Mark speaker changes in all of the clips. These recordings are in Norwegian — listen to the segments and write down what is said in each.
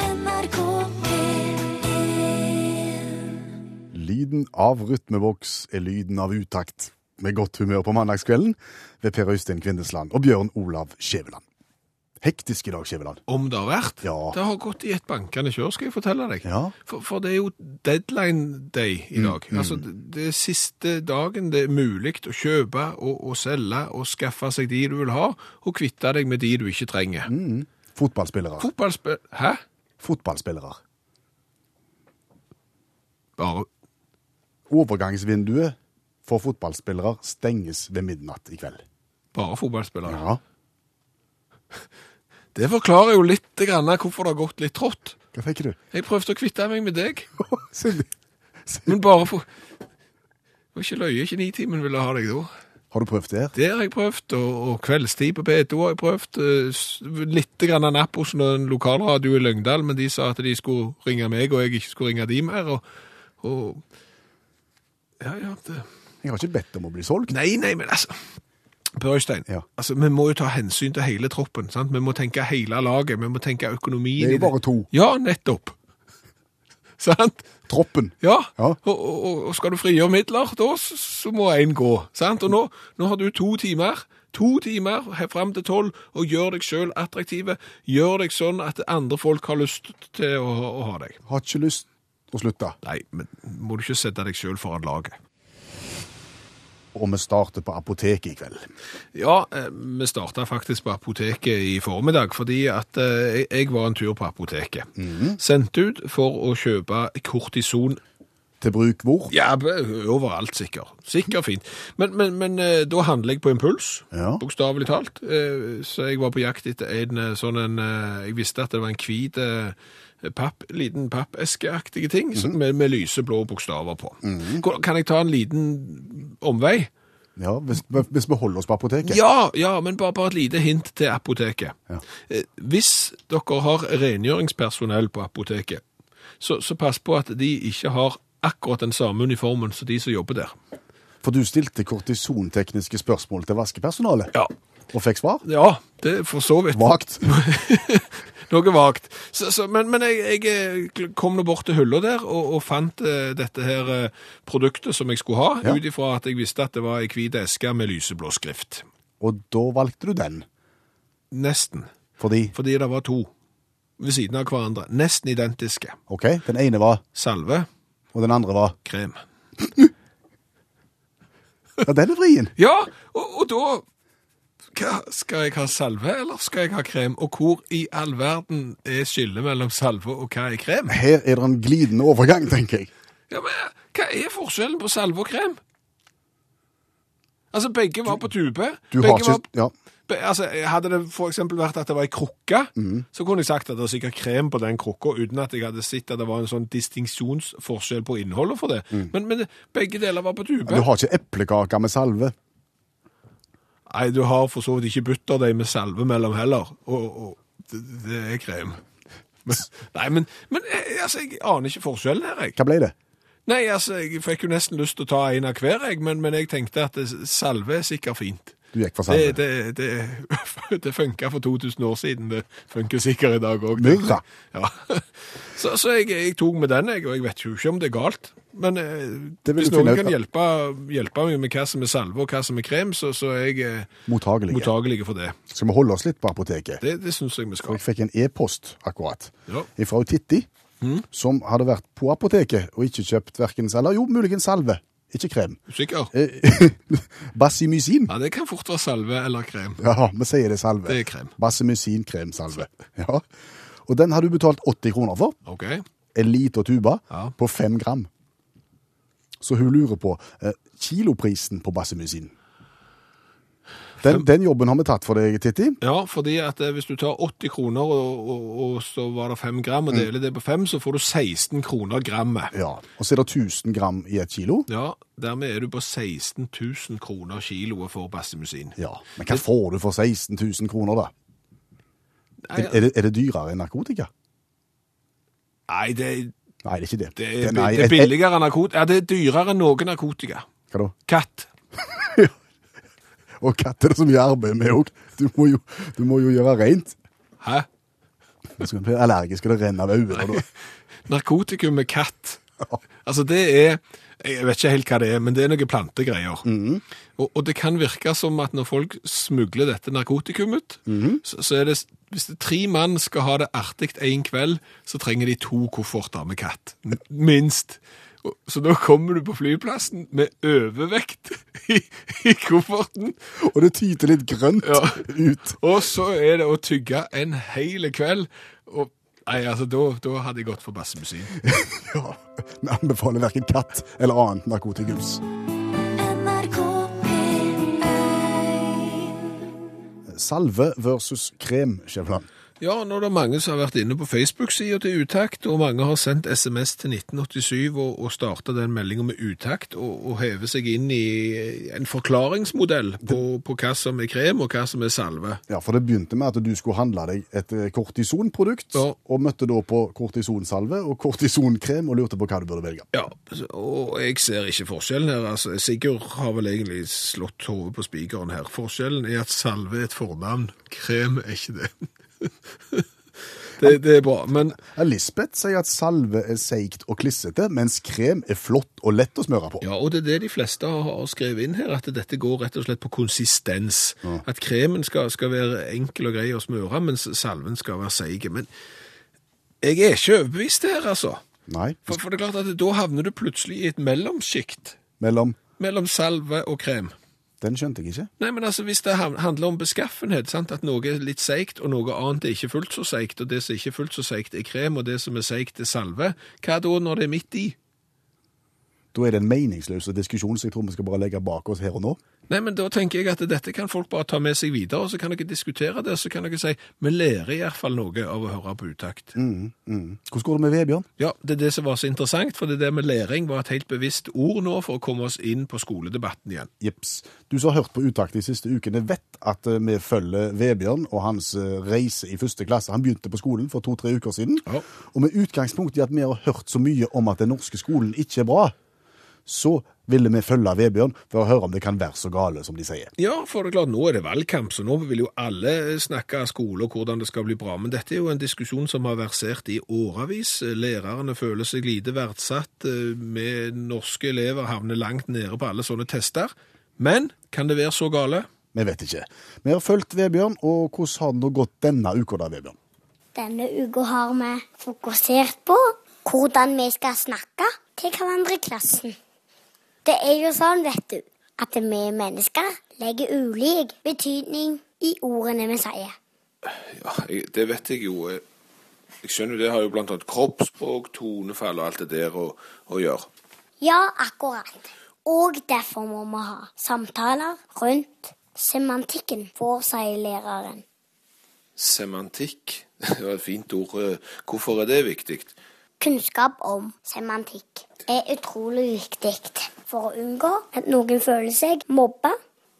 Speaker 1: NRK P1
Speaker 2: Lyden av rytmeboks er lyden av utakt. Med godt humør på mandagskvelden ved Per Øystein Kvindesland og Bjørn Olav Skjæveland. Hektisk i dag, Skjæveland.
Speaker 3: Om det har vært?
Speaker 2: Ja.
Speaker 3: Det har gått i et bankende kjør, skal jeg fortelle deg.
Speaker 2: Ja. Mm,
Speaker 3: For, for det er jo deadline day i dag. Altså, det, det er siste dagen det er mulig å kjøpe og, og selge og skaffe seg de du vil ha, og kvitte deg med de du ikke trenger.
Speaker 2: Mm. Fotballspillere.
Speaker 3: Fotballspill... Hæ?
Speaker 2: Fotballspillere.
Speaker 3: Bare...
Speaker 2: Overgangsvinduet for fotballspillere stenges ved midnatt i kveld.
Speaker 3: Bare fotballspillere.
Speaker 2: Ja.
Speaker 3: Det forklarer jo litt grann hvorfor det har gått litt trått.
Speaker 2: Hva fikk du?
Speaker 3: Jeg prøvde å kvitte meg med deg,
Speaker 2: Siden-
Speaker 3: men bare for... Det var ikke løye, ikke nitimen ville ha deg da.
Speaker 2: Har du prøvd det her?
Speaker 3: Det har jeg prøvd, og, og kveldstid på P2 har jeg prøvd. eh, s- Litt grann av napp hos en lokalradio i Løgndal, men de sa at de skulle ringe meg, og jeg ikke skulle ringe de mer. Og, og ja, ja, det.
Speaker 2: Jeg har ikke bedt om å bli solgt.
Speaker 3: Nei, nei, men altså Per Øystein,
Speaker 2: Ja.
Speaker 3: altså, vi må jo ta hensyn til hele troppen. sant? Vi må tenke hele laget, vi må tenke økonomien.
Speaker 2: Det er
Speaker 3: i
Speaker 2: jo bare to.
Speaker 3: Ja, nettopp. sant?
Speaker 2: Troppen.
Speaker 3: Ja,
Speaker 2: Ja.
Speaker 3: Og, og, og skal du frigjøre midler, da s- så må én gå. Sant? Og nå, nå har du to timer. To timer her fram til tolv, og gjør deg sjøl attraktive. Gjør deg sånn at andre folk har lyst til å, å ha deg.
Speaker 2: Har ikke lyst å slutte.
Speaker 3: Nei, men må du ikke sette deg sjøl foran laget.
Speaker 2: Og vi starter på apoteket i kveld.
Speaker 3: Ja, eh, vi starta faktisk på apoteket i formiddag, fordi at eh, jeg- jeg var en tur på apoteket. Sendt ut for å kjøpe kortison
Speaker 2: Til bruk hvor?
Speaker 3: Ja, b- overalt sikker. Sikker fint. Men, men, men eh, da handler jeg på impuls,
Speaker 2: Ja.
Speaker 3: bokstavelig talt. Eh, Så jeg var på jakt etter en eh, sånn en eh, Jeg visste at det var en hvit eh, papp, liten pappeskeaktige ting
Speaker 2: Mhm.
Speaker 3: som- med, med lyse blå bokstaver på. Kan- Kan jeg ta en liten omvei?
Speaker 2: Ja, hvis, hvis vi holder oss på apoteket.
Speaker 3: Ja, ja, men bare, bare et lite hint til apoteket.
Speaker 2: Ja.
Speaker 3: Eh, Hvis dere har rengjøringspersonell på apoteket, så, så pass på at de ikke har akkurat den samme uniformen som de som jobber der.
Speaker 2: For du stilte kortisontekniske spørsmål til vaskepersonalet,
Speaker 3: Ja,
Speaker 2: og fikk svar?
Speaker 3: ja det er for så vidt.
Speaker 2: Vagt.
Speaker 3: Noe vagt. Så, så, men men jeg, jeg kom nå bort til hylla der og, og fant eh, dette her eh, produktet som jeg skulle ha,
Speaker 2: Ja.
Speaker 3: ut ifra at jeg visste at det var ei hvit eske med lyseblå skrift.
Speaker 2: Og da valgte du den,
Speaker 3: Nesten.
Speaker 2: fordi
Speaker 3: Fordi det var to ved siden av hverandre. Nesten identiske.
Speaker 2: OK, den ene var,
Speaker 3: Salve,
Speaker 2: og den andre var
Speaker 3: krem.
Speaker 2: Ja, den er vrien.
Speaker 3: Ja, og, og da hva, Skal jeg ha salve, eller skal jeg ha krem? Og hvor i all verden er skillet mellom salve og hva er krem?
Speaker 2: Her er det en glidende overgang, tenker jeg.
Speaker 3: Ja, men hva er forskjellen på salve og krem? Altså, begge var på tube.
Speaker 2: Du har
Speaker 3: begge
Speaker 2: ikke
Speaker 3: var,
Speaker 2: Ja,
Speaker 3: be, altså, hadde det for eksempel vært at det var en krukke,
Speaker 2: Mm.
Speaker 3: så kunne jeg sagt at det var sikkert krem på den krukka, uten at jeg hadde sett at det var en sånn distinksjonsforskjell på innholdet for det. Men, men begge deler var på tube.
Speaker 2: Mm. du har ikke eplekake med salve.
Speaker 3: Nei, du har for så vidt ikke butterdeig med salve mellom heller, og, og det, det er krem. Men, nei, men, men eh, altså, jeg aner ikke forskjellen her, jeg.
Speaker 2: Hva ble det?
Speaker 3: Nei, altså, jeg fikk jo nesten lyst til å ta en av hver, jeg, men, men jeg tenkte at det- salve er sikkert fint.
Speaker 2: Du gikk for salve.
Speaker 3: Det, det, det, det funka for 2000 år siden, det funker sikkert i dag òg.
Speaker 2: Myrra.
Speaker 3: Ja. Så, så jeg, jeg tok med den, jeg, og jeg vet jo ikke om det er galt. Men eh,
Speaker 2: Det vil
Speaker 3: hvis
Speaker 2: du finne ut
Speaker 3: noen kan
Speaker 2: av.
Speaker 3: hjelpe, hjelpe meg med hva som er salve og hva som er krem, så, så er jeg eh,
Speaker 2: Mottagelige.
Speaker 3: mottagelig for det.
Speaker 2: Skal vi holde oss litt på apoteket?
Speaker 3: Det, det syns jeg vi skal.
Speaker 2: Jeg fikk en e-post akkurat
Speaker 3: Ja.
Speaker 2: fra Titti,
Speaker 3: Mm.
Speaker 2: som hadde vært på apoteket og ikke kjøpt verken salve Jo, muligens salve, ikke krem.
Speaker 3: Sikker?
Speaker 2: Eh, Basimysin.
Speaker 3: Ja, det kan fort være salve eller krem.
Speaker 2: Ja, vi sier det er salve.
Speaker 3: Det er krem.
Speaker 2: Basemusinkremsalve. Ja. Og den har du betalt 80 kroner for.
Speaker 3: OK?
Speaker 2: En liter tuba
Speaker 3: Ja.
Speaker 2: på fem gram. Så hun lurer på eh, kiloprisen på basemusin. Den, den jobben har vi tatt for deg, Titti.
Speaker 3: Ja, fordi at eh, hvis du tar 80 kroner, og, og, og så var det 5 gram, og deler det på 5, så får du 16 kroner grammet.
Speaker 2: Mm. Ja. Og så er det 1000 gram i et kilo.
Speaker 3: Ja, dermed er du på 16 000 kroner kiloet for bassimusin.
Speaker 2: Ja. Men hva får du for 16 000 kroner, da?
Speaker 3: Nei,
Speaker 2: Er det, er det dyrere enn narkotika?
Speaker 3: nei det,
Speaker 2: Nei, det er ikke det.
Speaker 3: det, er,
Speaker 2: nei,
Speaker 3: det
Speaker 2: et-
Speaker 3: er billigere enn narkotika. Ja, det er dyrere enn noe narkotika.
Speaker 2: et- Hva da?
Speaker 3: Katt.
Speaker 2: Og katter er det så mye arbeid med òg. Du, må jo- du må jo gjøre rent.
Speaker 3: Hæ?
Speaker 2: Og så kan du bli allergisk, og det renner av øynene. og da-
Speaker 3: Narkotikum med katt. Altså, det er Jeg vet ikke helt hva det er, men det er noen plantegreier. Og, og det kan virke som at når folk smugler dette narkotikumet, så, så er det Hvis det tre mann skal ha det artig en kveld, så trenger de to kofferter med katt. Minst. Og- Så da kommer du på flyplassen med overvekt i, i kofferten,
Speaker 2: Og det tyter litt grønt
Speaker 3: Ja.
Speaker 2: ut.
Speaker 3: og så er det å tygge en hel kveld. Og, nei, altså, da, da hadde jeg gått for bassemusin.
Speaker 2: Ja. Vi anbefaler verken katt eller annet narkotikus.
Speaker 1: NRK P1
Speaker 2: Salve versus krem, Skjæveland.
Speaker 3: Ja, nå er det mange som har vært inne på Facebook-sida til Utakt, og mange har sendt SMS til 1987 og, og starta den meldinga med Utakt, og, og hever seg inn i en forklaringsmodell på, på hva som er krem, og hva som er salve.
Speaker 2: Ja, for det begynte med at du skulle handle deg et eh, kortisonprodukt,
Speaker 3: Ja.
Speaker 2: og møtte da på kortisonsalve og kortisonkrem og lurte på hva du burde velge.
Speaker 3: Ja, og jeg ser ikke forskjellen her. Altså, Sigurd har vel egentlig slått hodet på spikeren her. Forskjellen er at salve er et fornavn, krem er ikke det. det, det er bra. Men
Speaker 2: Ja, Lisbeth sier at salve er seigt og klissete, mens krem er flott og lett å smøre på.
Speaker 3: Ja, og det er det de fleste har- har skrevet inn her, at dette går rett og slett på konsistens. At kremen skal, skal være enkel og grei å smøre, mens salven skal være seig. Men jeg er ikke overbevist her, altså.
Speaker 2: Nei,
Speaker 3: For, for det er klart at da havner du plutselig i et mellomsjikt
Speaker 2: mellom
Speaker 3: mellom salve og krem.
Speaker 2: Den skjønte jeg ikke.
Speaker 3: Nei, men altså, Hvis det ham- handler om beskaffenhet, sant? at noe er litt seigt og noe annet er ikke fullt så seigt, og det som ikke er fullt så seigt, er krem, og det som er seigt, er salve, hva da når det er midt i?
Speaker 2: Da er det en meningsløs diskusjon som jeg tror vi skal bare legge bak oss her og nå.
Speaker 3: Nei, men da tenker jeg at dette kan folk bare ta med seg videre, og så kan dere diskutere det, så kan dere si, vi lærer i hvert fall noe av å høre på utakt.
Speaker 2: Hvordan går det med Vebjørn?
Speaker 3: Ja, det er det som var så interessant, for det der med læring var et helt bevisst ord nå for å komme oss inn på skoledebatten igjen.
Speaker 2: Jips. Du som har hørt på Utakt de siste ukene, vet at eh, vi følger Vebjørn og hans eh, reise i første klasse. Han begynte på skolen for to-tre uker siden.
Speaker 3: Ja.
Speaker 2: Og med utgangspunkt i at vi har hørt så mye om at den norske skolen ikke er bra, så ville vi følge Vebjørn for å høre om det kan være så gale som de sier.
Speaker 3: Ja, for det er klart, nå er det valgkamp, så nå vil jo alle snakke av skole og hvordan det skal bli bra, men dette er jo en diskusjon som har versert i åravis. Lærerne føler seg lite verdsatt, eh, med norske elever havner langt nede på alle sånne tester. Men, kan det være så gale?
Speaker 2: Vi vet ikke. Vi har fulgt Vebjørn, og hvordan har det nå gått denne uka da, Vebjørn?
Speaker 4: Denne uka har vi fokusert på hvordan vi skal snakke til hverandre i klassen. Det er jo sånn, vet du, at vi mennesker legger ulik betydning i ordene vi sier.
Speaker 3: Ja, jeg- det vet jeg jo. Jeg jeg skjønner jo det har jo blant annet kroppsspråk, tonefall og alt det der å, å gjøre.
Speaker 4: Ja, akkurat. Og derfor må vi ha samtaler rundt semantikken, for sier læreren.
Speaker 3: Semantikk, det var et fint ord. Eh, Hvorfor er det viktig?
Speaker 4: Kunnskap om semantikk er utrolig viktig for å unngå at noen føler seg mobba,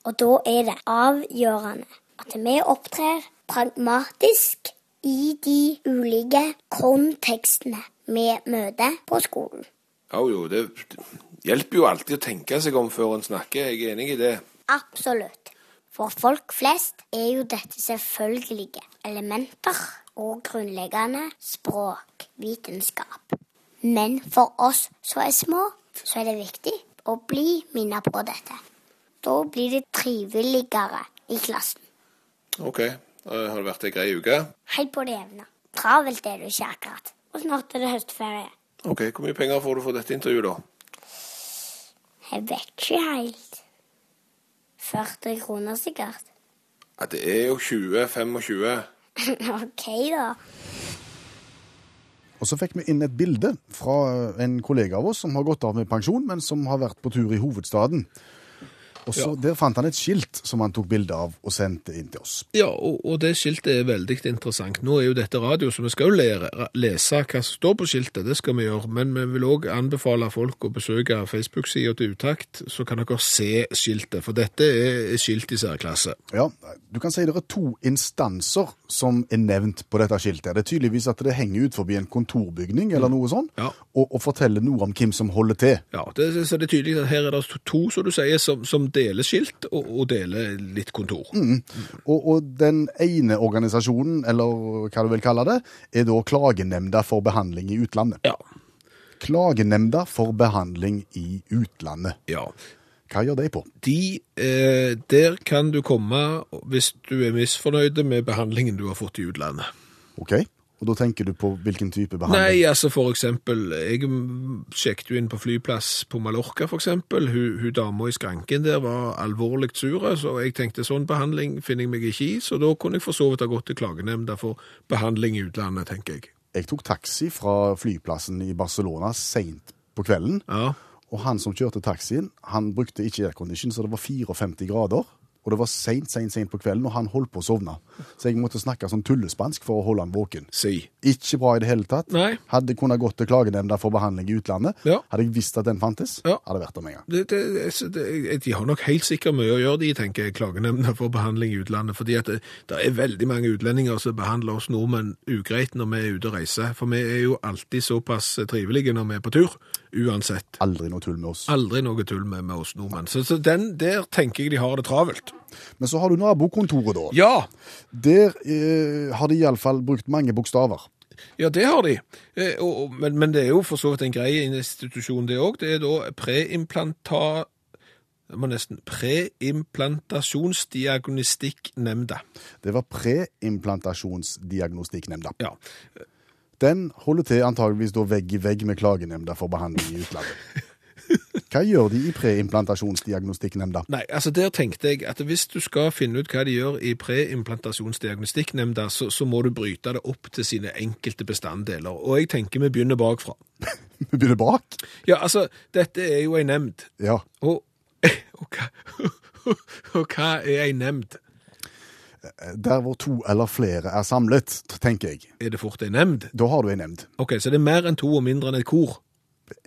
Speaker 4: og da er det avgjørende at vi opptrer pragmatisk i de ulike kontekstene vi møter på skolen.
Speaker 3: Ja jo, det hjelper jo alltid å tenke seg om før en snakker, jeg er enig i det.
Speaker 4: Absolutt. For folk flest er jo dette selvfølgelige elementer og grunnleggende språkvitenskap. Men for oss som er små, så er det viktig å bli minnet på dette. Da blir det triveligere i klassen.
Speaker 3: OK, eh, har det vært ei grei uke?
Speaker 4: Helt på det jevne. Travelt er det jo ikke akkurat. Og snart er det høstferie.
Speaker 3: OK, hvor mye penger får du for dette intervjuet, da?
Speaker 4: Jeg vet ikke helt. 40 kroner sikkert.
Speaker 3: Ja, det er jo 20-25.
Speaker 4: OK, da.
Speaker 2: Og så fikk vi inn et bilde fra en kollega av oss som har gått av med pensjon, men som har vært på tur i hovedstaden. Og så Der fant han et skilt som han tok bilde av og sendte inn til oss.
Speaker 3: Ja, og, og det skiltet er veldig interessant. Nå er jo dette radio, så vi skal jo lære, lese hva som står på skiltet, det skal vi gjøre. Men vi vil òg anbefale folk å besøke Facebook-sida til Utakt, så kan dere se skiltet. For dette er skilt i særklasse.
Speaker 2: Ja, Du kan si det er to instanser som er nevnt på dette skiltet. Det er tydeligvis at det henger ut forbi en kontorbygning eller noe sånt,
Speaker 3: Ja.
Speaker 2: og, og forteller noe om hvem som holder til.
Speaker 3: Ja, det, så det er tydelig at her er det to, som du sier, som, som som deler skilt og, og deler litt kontor.
Speaker 2: Og, og den ene organisasjonen, eller hva du vil kalle det, er da Klagenemnda for behandling i utlandet.
Speaker 3: Ja.
Speaker 2: Klagenemnda for behandling i utlandet.
Speaker 3: ja.
Speaker 2: Hva gjør de på?
Speaker 3: De, eh, der kan du komme hvis du er misfornøyd med behandlingen du har fått i utlandet.
Speaker 2: Ok, og da tenker du på hvilken type behandling?
Speaker 3: Nei, altså for eksempel, jeg mm, sjekket jo inn på flyplass på Mallorca for eksempel, hun, hun dama i skranken der var alvorlig sure, så jeg tenkte sånn behandling finner jeg meg ikke i, så da kunne jeg for så vidt ha gått til klagenemnda for behandling i utlandet, tenker jeg.
Speaker 2: Jeg tok taxi fra flyplassen i Barcelona sent på kvelden,
Speaker 3: Ja,
Speaker 2: og han som kjørte taxien, han brukte ikke aircondition, så det var 54 grader, og det var sent, sent, sent på kvelden, og han holdt på å sovne. Så jeg måtte snakke sånn tullespansk for å holde han våken.
Speaker 3: si.
Speaker 2: Ikke bra i det hele tatt.
Speaker 3: Nei.
Speaker 2: Hadde kunnet gått til klagenemnda for behandling i utlandet.
Speaker 3: Ja.
Speaker 2: Hadde jeg visst at den fantes,
Speaker 3: Ja.
Speaker 2: hadde vært der med en gang.
Speaker 3: Det, det, altså, det, de har nok helt sikkert mye å gjøre, de, tenker jeg, klagenemnda for behandling i utlandet, fordi at det, det er veldig mange utlendinger som behandler oss nordmenn ugreit når vi er ute og reiser, for vi er jo alltid såpass trivelige når vi er på tur, uansett.
Speaker 2: Aldri noe tull med oss.
Speaker 3: Aldri noe tull med, med oss nordmenn. Så, så den der tenker jeg de har det travelt.
Speaker 2: Men så har du nabokontoret, da.
Speaker 3: Ja,
Speaker 2: Der eh, har de iallfall brukt mange bokstaver.
Speaker 3: ja det har de. Eh, og, og, men, men det er jo for så vidt en grei institusjon, det òg. Det er da preimplanta... Det må nesten Preimplantasjonsdiagnostikknemnda.
Speaker 2: Det var preimplantasjonsdiagnostikknemnda.
Speaker 3: Ja.
Speaker 2: Den holder til antageligvis da vegg i vegg med klagenemnda for behandling i utlandet. Hva gjør de i preimplantasjonsdiagnostikknemnda?
Speaker 3: Nei, altså der tenkte jeg at hvis du skal finne ut hva de gjør i preimplantasjonsdiagnostikknemnda, så, så må du bryte det opp til sine enkelte bestanddeler. Og jeg tenker vi begynner bakfra.
Speaker 2: Vi begynner bak.
Speaker 3: Ja, altså, dette er jo ei nemnd.
Speaker 2: Ja.
Speaker 3: Og, og, hva, og hva er ei nemnd?
Speaker 2: Der hvor to eller flere er samlet, tenker jeg.
Speaker 3: Er det fort ei nemnd?
Speaker 2: Da har du en nemnd.
Speaker 3: Ok, så det er mer enn to og mindre enn et kor.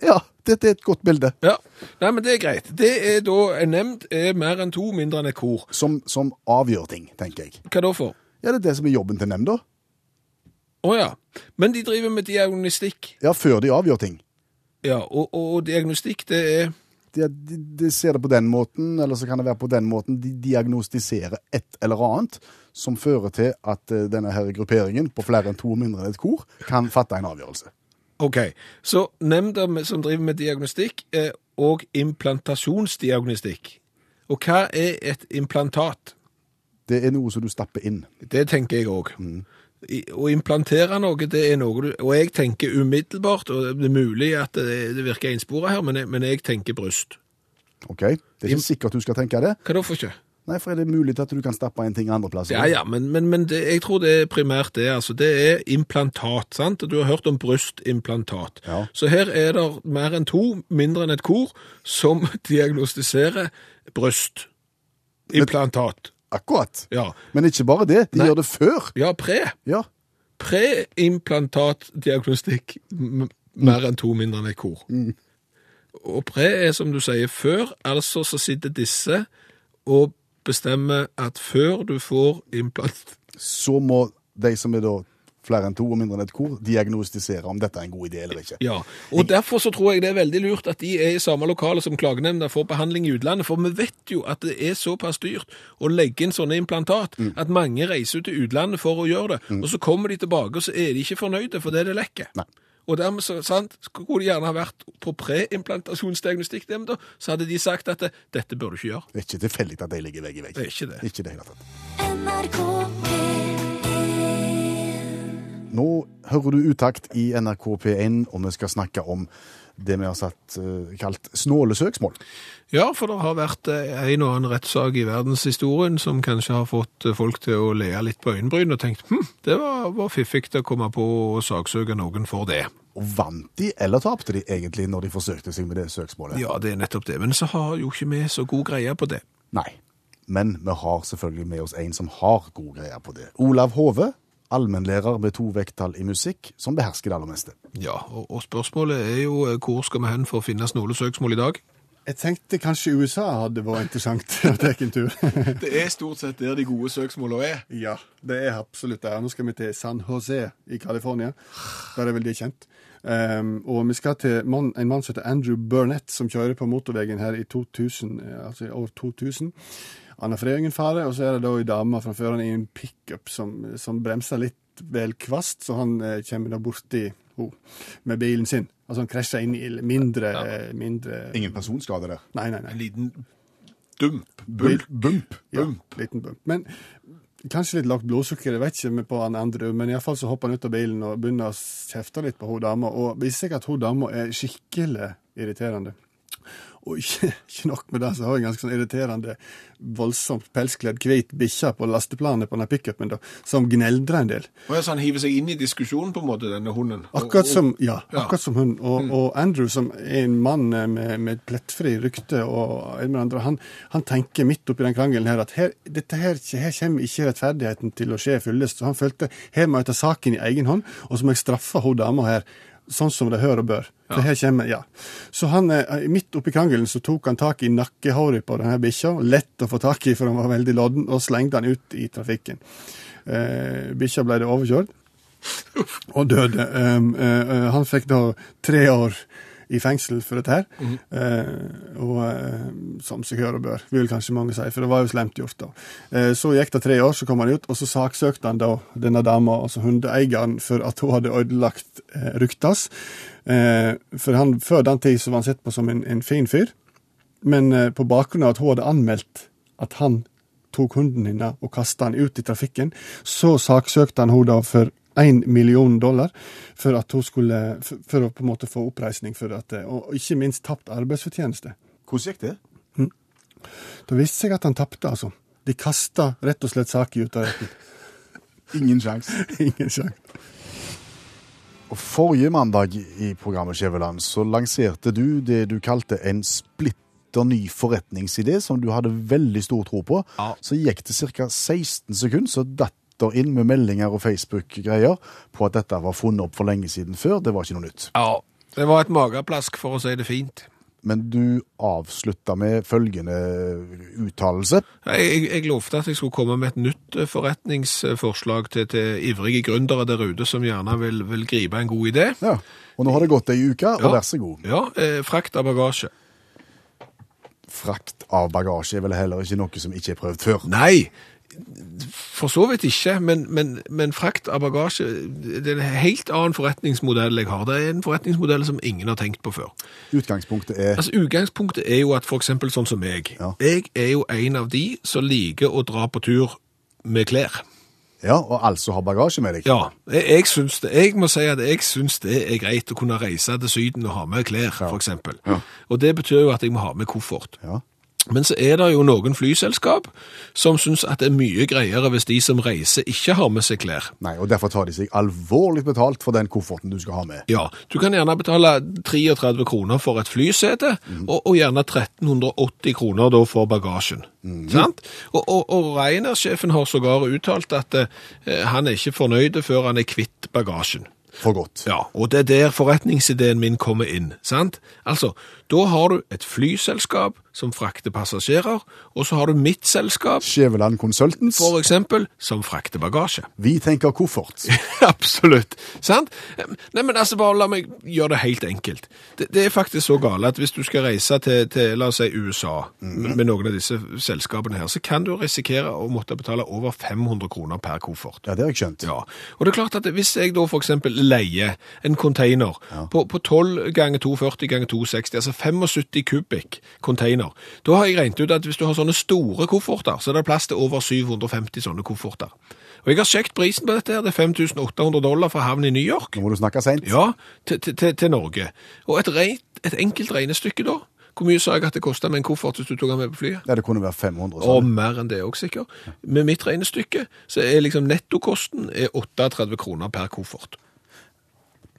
Speaker 2: Ja, dette er et godt bilde.
Speaker 3: Ja, Nei, men det er greit. Det er da En nemnd er mer enn to, mindre enn et kor.
Speaker 2: som, som avgjør ting, tenker jeg.
Speaker 3: Hva da for?
Speaker 2: Ja, det er det som er jobben til nemnda.
Speaker 3: Å ja. Men de driver med diagnostikk.
Speaker 2: Ja, før de avgjør ting.
Speaker 3: Ja, og, og, og diagnostikk, det er
Speaker 2: De, de, de ser det på den måten, eller så kan det være på den måten. De diagnostiserer et eller annet som fører til at eh, denne her grupperingen på flere enn to og mindre enn et kor kan fatte en avgjørelse.
Speaker 3: OK. Så nemnda med- som driver med diagnostikk, er òg implantasjonsdiagnostikk. Og hva er et implantat?
Speaker 2: Det er noe som du stapper inn.
Speaker 3: Det tenker jeg òg. I- Å implantere noe, det er noe du Og jeg tenker umiddelbart, og det er mulig at det, det virker innspora her, men jeg, men jeg tenker bryst.
Speaker 2: ok? Det er ikke sikkert du skal tenke det.
Speaker 3: Hva da for ikke?
Speaker 2: Nei, for er det mulig at du kan stappe en ting andre plasser?
Speaker 3: Ja ja, men, men, men det, jeg tror det er primært det. altså Det er implantat, sant? Og Du har hørt om brystimplantat.
Speaker 2: Ja.
Speaker 3: Så her er det mer enn to, mindre enn et kor, som diagnostiserer brystimplantat.
Speaker 2: Akkurat.
Speaker 3: Ja.
Speaker 2: Men ikke bare det, de
Speaker 3: Nei.
Speaker 2: gjør det før.
Speaker 3: Ja, pre.
Speaker 2: Ja,
Speaker 3: preimplantatdiagnostikk m- mer enn to mindre enn et kor. Og pre er som du sier før, altså så sitter disse og bestemmer at før du får implant...
Speaker 2: så må de som er da flere enn to og mindre enn et kor, diagnostisere om dette er en god idé eller ikke.
Speaker 3: Ja, og derfor så tror jeg det er veldig lurt at de er i samme lokale som klagenemnda for behandling i utlandet, for vi vet jo at det er såpass dyrt å legge inn sånne implantat at mange reiser ut til utlandet for å gjøre det, og så kommer de tilbake og så er de ikke fornøyde for det er det lekker.
Speaker 2: Nei.
Speaker 3: Og dermed så, sant, skulle de gjerne ha vært på preimplantasjonsdiagnostikknemnda, så hadde de sagt at dette bør du ikke gjøre.
Speaker 2: Det er ikke tilfeldig at de ligger vegg i vegg.
Speaker 3: Det er ikke det.
Speaker 2: Ikke i det hele tatt.
Speaker 1: NRK P1
Speaker 2: Nå hører du utakt i NRK P1, og vi skal snakke om det vi har satt, eh, kalt snåle søksmål.
Speaker 3: Ja, for det har vært eh, en og annen rettssak i verdenshistorien som kanskje har fått eh, folk til å le litt på øyenbryn og tenkt hm, det var, var fiffig å komme på å saksøke noen for det.
Speaker 2: Og vant de, eller tapte de egentlig, når de forsøkte seg med det søksmålet?
Speaker 3: Ja, det er nettopp det. Men så har jo ikke vi så god greie på det.
Speaker 2: Nei. Men vi har selvfølgelig med oss en som har god greie på det. Olav Hove, allmennlærer med to vekttall i musikk, som behersker det aller meste.
Speaker 3: Ja, og, og spørsmålet er jo eh, hvor skal vi hen for å finne snåle søksmål i dag?
Speaker 5: Jeg tenkte kanskje USA hadde vært interessant å trekke en tur.
Speaker 3: Det er stort sett der de gode søksmålene er.
Speaker 5: ja, det er absolutt det. Nå skal vi til San Jose i California. Der er vel de kjent. Ehm, og vi skal til mann, en mann som heter Andrew Burnett, som kjører på motorveien her i 2000, eh, altså i år 2000. Han har fred og ingen fare, og så er det da ei dame framfor han i en pickup som, som bremser litt vel kvast, så han eh, kommer da borti henne med bilen sin. Altså han krasjer inn i mindre, eh, mindre
Speaker 2: Ingen personskade der.
Speaker 5: Nei, nei, nei.
Speaker 3: En liten dump.
Speaker 2: Bump. Bump.
Speaker 5: Ja, liten bump. Men kanskje litt lavt blodsukker, jeg vet ikke med på han andre, men iallfall så hopper han ut av bilen og begynner å kjefte litt på hun dama, og viser seg at hun dama er skikkelig irriterende. Og ikke, ikke nok med det, så har jeg en ganske sånn irriterende, voldsomt pelskledd hvit bikkje på lasteplanet på denne pickupen, da, som gneldrer en del.
Speaker 3: Og så han hiver sånn seg inn i diskusjonen på en måte, denne hunden. Og-
Speaker 5: Akkurat
Speaker 3: og-
Speaker 5: som, ja,
Speaker 3: Ja.
Speaker 5: akkurat som hun. Og, og Andrew, som er en mann eh, med, med et plettfri rykte, og en med andre, han, han tenker midt oppi den krangelen her at her, dette her, her kommer ikke rettferdigheten til å skje fyllest. Så han følte her må jeg ta saken i egen hånd, og så må jeg straffe hun dama her. Sånn som det hør og bør. For her kommer, ja. Så han, eh, midt oppi krangelen så tok han tak i nakkehåret på denne bikkja, lett å få tak i for han var veldig lodden, og slengte han ut i trafikken. Eh, bikkja ble da overkjørt og døde. Um, eh, eh, han fikk da tre år i fengsel for dette her, Eh, og eh, som seg hør og bør, vil kanskje mange si, for det var jo slemt gjort da. Eh, så gikk det tre år, så kom han ut, og så saksøkte han da denne dama, altså hundeeieren, for at hun hadde ødelagt eh, ryktas. Eh, for han, før den tid så var han sett på som en, en fin fyr, men eh, på bakgrunn av at hun hadde anmeldt at han tok hunden hennes og kasta han ut i trafikken, så saksøkte han henne da for én million dollar for at hun skulle, for, for å på en måte få oppreisning for at, eh, og ikke minst tapt arbeidsfortjeneste.
Speaker 2: Hvordan gikk det?
Speaker 5: Det viste seg at han tapte, altså. De kasta rett og slett saken ut av retten.
Speaker 2: Ingen sjans.
Speaker 5: Ingen sjanse.
Speaker 2: Og Forrige mandag i programmet Skjæveland så lanserte du det du kalte en splitter ny forretningsidé som du hadde veldig stor tro på.
Speaker 3: Ja.
Speaker 2: Så gikk det ca. 16 sekunder, så datt det inn med meldinger og Facebook-greier på at dette var funnet opp for lenge siden før. Det var ikke noe nytt.
Speaker 3: Ja, det var et mageplask, for å si det fint.
Speaker 2: Men du avslutta med følgende uttalelse.
Speaker 3: Jeg, jeg, jeg lovte at jeg skulle komme med et nytt eh, forretningsforslag til, til ivrige gründere der ute som gjerne vil, vil gripe en god idé.
Speaker 2: Ja. Og nå har det gått ei uke, og
Speaker 3: Ja.
Speaker 2: vær så god.
Speaker 3: Ja, eh, frakt av bagasje.
Speaker 2: Frakt av bagasje er vel heller ikke noe som ikke er prøvd før.
Speaker 3: Nei, for så vidt ikke, men, men, men frakt av bagasje det er en helt annen forretningsmodell jeg har. Det er en forretningsmodell som ingen har tenkt på før.
Speaker 2: Utgangspunktet er
Speaker 3: Altså, Utgangspunktet er jo at f.eks. sånn som meg.
Speaker 2: Ja.
Speaker 3: Jeg er jo en av de som liker å dra på tur med klær.
Speaker 2: Ja, og altså har bagasje med deg.
Speaker 3: Ja, jeg, jeg syns det. Jeg må si at jeg syns det er greit å kunne reise til Syden og ha med klær, for f.eks. Og det betyr jo at jeg må ha med koffert.
Speaker 2: Ja.
Speaker 3: Men så er det jo noen flyselskap som syns at det er mye greiere hvis de som reiser, ikke har med seg klær.
Speaker 2: Nei, og derfor tar de seg alvorlig betalt for den kofferten du skal ha med.
Speaker 3: Ja, du kan gjerne betale 33 kroner for et flysete, og, og gjerne 1380 kroner da for bagasjen. Sant? Og, og, og Reiner-sjefen har sågar uttalt at eh, han er ikke fornøyd før han er kvitt bagasjen.
Speaker 2: For godt.
Speaker 3: Ja, og det er der forretningsideen min kommer inn, sant? Altså, da har du et flyselskap som frakter passasjerer, og så har du mitt selskap,
Speaker 2: Skjæveland Consultants,
Speaker 3: for eksempel, som frakter bagasje.
Speaker 2: vi tenker koffert.
Speaker 3: Absolutt, sant? Nei, men altså, bare la meg gjøre det helt enkelt. Det, det er faktisk så gale at hvis du skal reise til, til la oss si, USA med, med noen av disse selskapene her, så kan du risikere å måtte betale over 500 kroner per koffert.
Speaker 2: Ja, det har jeg skjønt.
Speaker 3: Ja, og det er klart at hvis jeg da for eksempel leier en container på, på 12 ganger 240 ganger 260, altså 75 kubikk container, da har jeg regnet ut at hvis du har sånne store kofferter, så er det plass til over 750 sånne kofferter. Og jeg har sjekt prisen på dette her, det er 5800 dollar fra havnen i New York,
Speaker 2: Nå må du snakke sent.
Speaker 3: ja, til, til, til, til Norge. Og et, rent, et enkelt regnestykke da, hvor mye sa jeg at det kostet med en koffert hvis du tok den med på flyet?
Speaker 2: Ja, det kunne være 500. sa
Speaker 3: Og
Speaker 2: du.
Speaker 3: mer enn det òg, sikkert. Med mitt regnestykke så er liksom nettokosten er 38 kroner per koffert.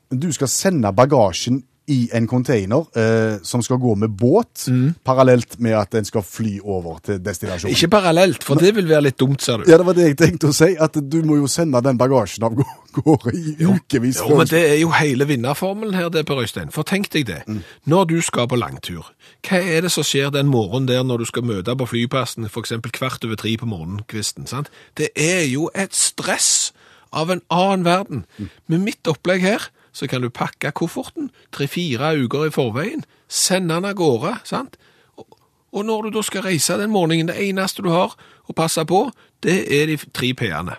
Speaker 2: Men Du skal sende bagasjen i en container eh, som skal gå med båt, parallelt med at den skal fly over til destinasjonen.
Speaker 3: Mm. Ikke parallelt, for det vil være litt dumt, ser du.
Speaker 2: Ja, det var det jeg tenkte å si, at du må jo sende den bagasjen av gå- gårde i ukevis.
Speaker 3: Jo,
Speaker 2: før
Speaker 3: men
Speaker 2: den skal-
Speaker 3: Det er jo hele vinnerformelen her, det, Per Øystein. For tenk deg det. Når du skal på langtur, hva er det som skjer den morgenen der når du skal møte på flyplassen f.eks. kvart over tre på morgenkvisten? sant? Det er jo et stress av en annen verden. Med mitt opplegg her så kan du pakke kofferten tre-fire uker i forveien, sende den av gårde, sant? Og, og når du da skal reise den morgenen, det eneste du har å passe på, det er de tre P-ene.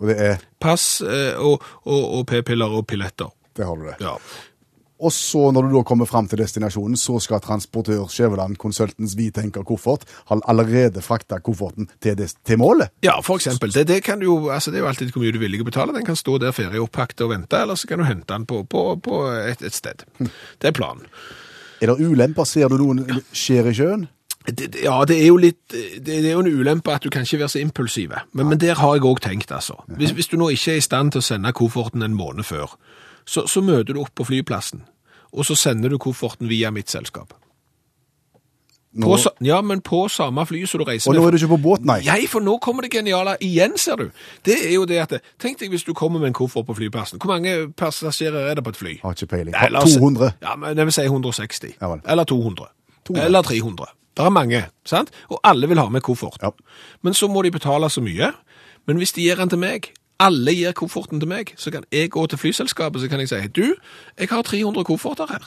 Speaker 2: Og det er
Speaker 3: Pass eh, og, og, og p-piller og pilletter.
Speaker 2: Der har du det.
Speaker 3: Ja.
Speaker 2: Og så, når du da kommer fram til destinasjonen, så skal transportør Skjæveland Konsultens Hvitenker koffert ha allerede frakta kofferten til, des til målet.
Speaker 3: Ja, for eksempel. Det, det, kan du, jo- altså det er jo alltid hvor mye du er villig å betale. Den kan stå der ferieoppakket og vente, eller så kan du hente den på, på, på et, et sted. Det er planen.
Speaker 2: Er det ulemper? Ser du noen skjer i sjøen?
Speaker 3: Det, det- ja, det er jo litt Det, det er jo en ulempe at du kan ikke være så impulsive. Men, men der har jeg òg tenkt, altså. Hvis, hvis du nå ikke er i stand til å sende kofferten en måned før, så, så møter du opp på flyplassen, og så sender du kofferten via mitt selskap.
Speaker 2: Nå,
Speaker 3: På, sa- ja, men på samme fly som du reiser
Speaker 2: og
Speaker 3: med.
Speaker 2: nå er du ikke på båt, nei?
Speaker 3: Jeg, for nå kommer det geniale igjen, ser du. Det er jo det at Tenk deg hvis du kommer med en koffert på flyplassen. Hvor mange passasjerer er det på et fly?
Speaker 2: Har ikke peiling.
Speaker 3: Nei, la oss-
Speaker 2: 200.
Speaker 3: Ja, men det vil si 160.
Speaker 2: Ja vel.
Speaker 3: Eller 200.
Speaker 2: 200.
Speaker 3: Eller 300. Det er mange, sant? Og alle vil ha med koffert.
Speaker 2: Ja.
Speaker 3: Men så må de betale så mye. Men hvis de gir den til meg, alle gir kofferten til meg, så kan jeg gå til flyselskapet så kan jeg si du, jeg har 300 kofferter her.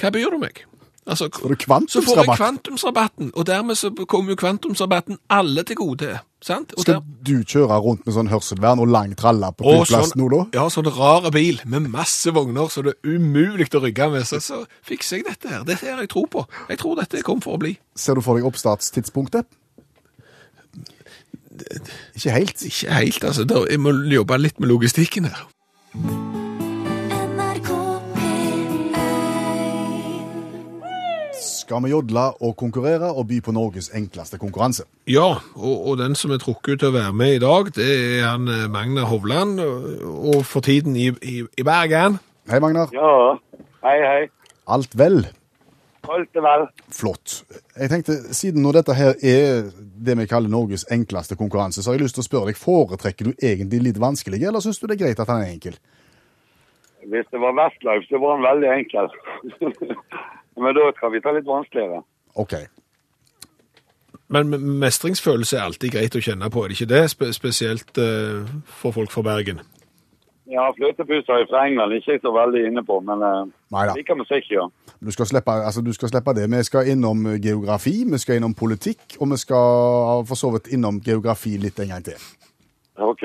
Speaker 3: Hva byr du meg? Altså,
Speaker 2: du
Speaker 3: så får jeg
Speaker 2: kvantumsrabatt.
Speaker 3: kvantumsrabatten, og dermed så kommer jo kvantumsrabatten alle til gode. sant? Og
Speaker 2: Skal
Speaker 3: der-
Speaker 2: du kjøre rundt med sånn hørselvern og lang tralle på
Speaker 3: og
Speaker 2: flyplassen nå, da?
Speaker 3: ja, sånn rare bil med masse vogner så det er umulig å rygge med. Så, så fikser jeg dette her. Dette er jeg tror på. Jeg tror dette kom for å bli.
Speaker 2: Ser du for deg oppstartstidspunktet? Ikke helt.
Speaker 3: Ikke helt, altså. Da, jeg må jobbe litt med logistikken her.
Speaker 1: NRK P1
Speaker 2: Skal vi jodle og konkurrere og by på Norges enkleste konkurranse?
Speaker 3: Ja, og, og den som er trukket ut til å være med i dag, det er han eh, Magne Hovland, og, og for tiden i, i, i Bergen.
Speaker 2: Hei, Magnar.
Speaker 6: Ja, hei, hei.
Speaker 2: Alt vel?
Speaker 6: Alt er vel.
Speaker 2: Flott. Jeg tenkte, Siden nå dette her er det vi kaller Norges enkleste konkurranse, så har jeg lyst til å spørre deg, foretrekker du egentlig litt vanskelige, eller syns du det er greit at han er enkel?
Speaker 6: Hvis det var Westlife, så var han veldig enkel. Men da kan vi ta litt vanskeligere.
Speaker 2: OK.
Speaker 3: Men m- mestringsfølelse er alltid greit å kjenne på, er det ikke det? Spe spesielt eh, for folk fra Bergen.
Speaker 6: Ja, fløtepus har jeg fra England ikke jeg så veldig inne på, men eh,
Speaker 2: Neida.
Speaker 6: liker musikk, ja.
Speaker 2: Du skal, slippe, altså, du skal slippe det. Vi skal innom geografi, vi skal innom politikk, og vi skal for så vidt innom geografi litt en gang til.
Speaker 6: OK.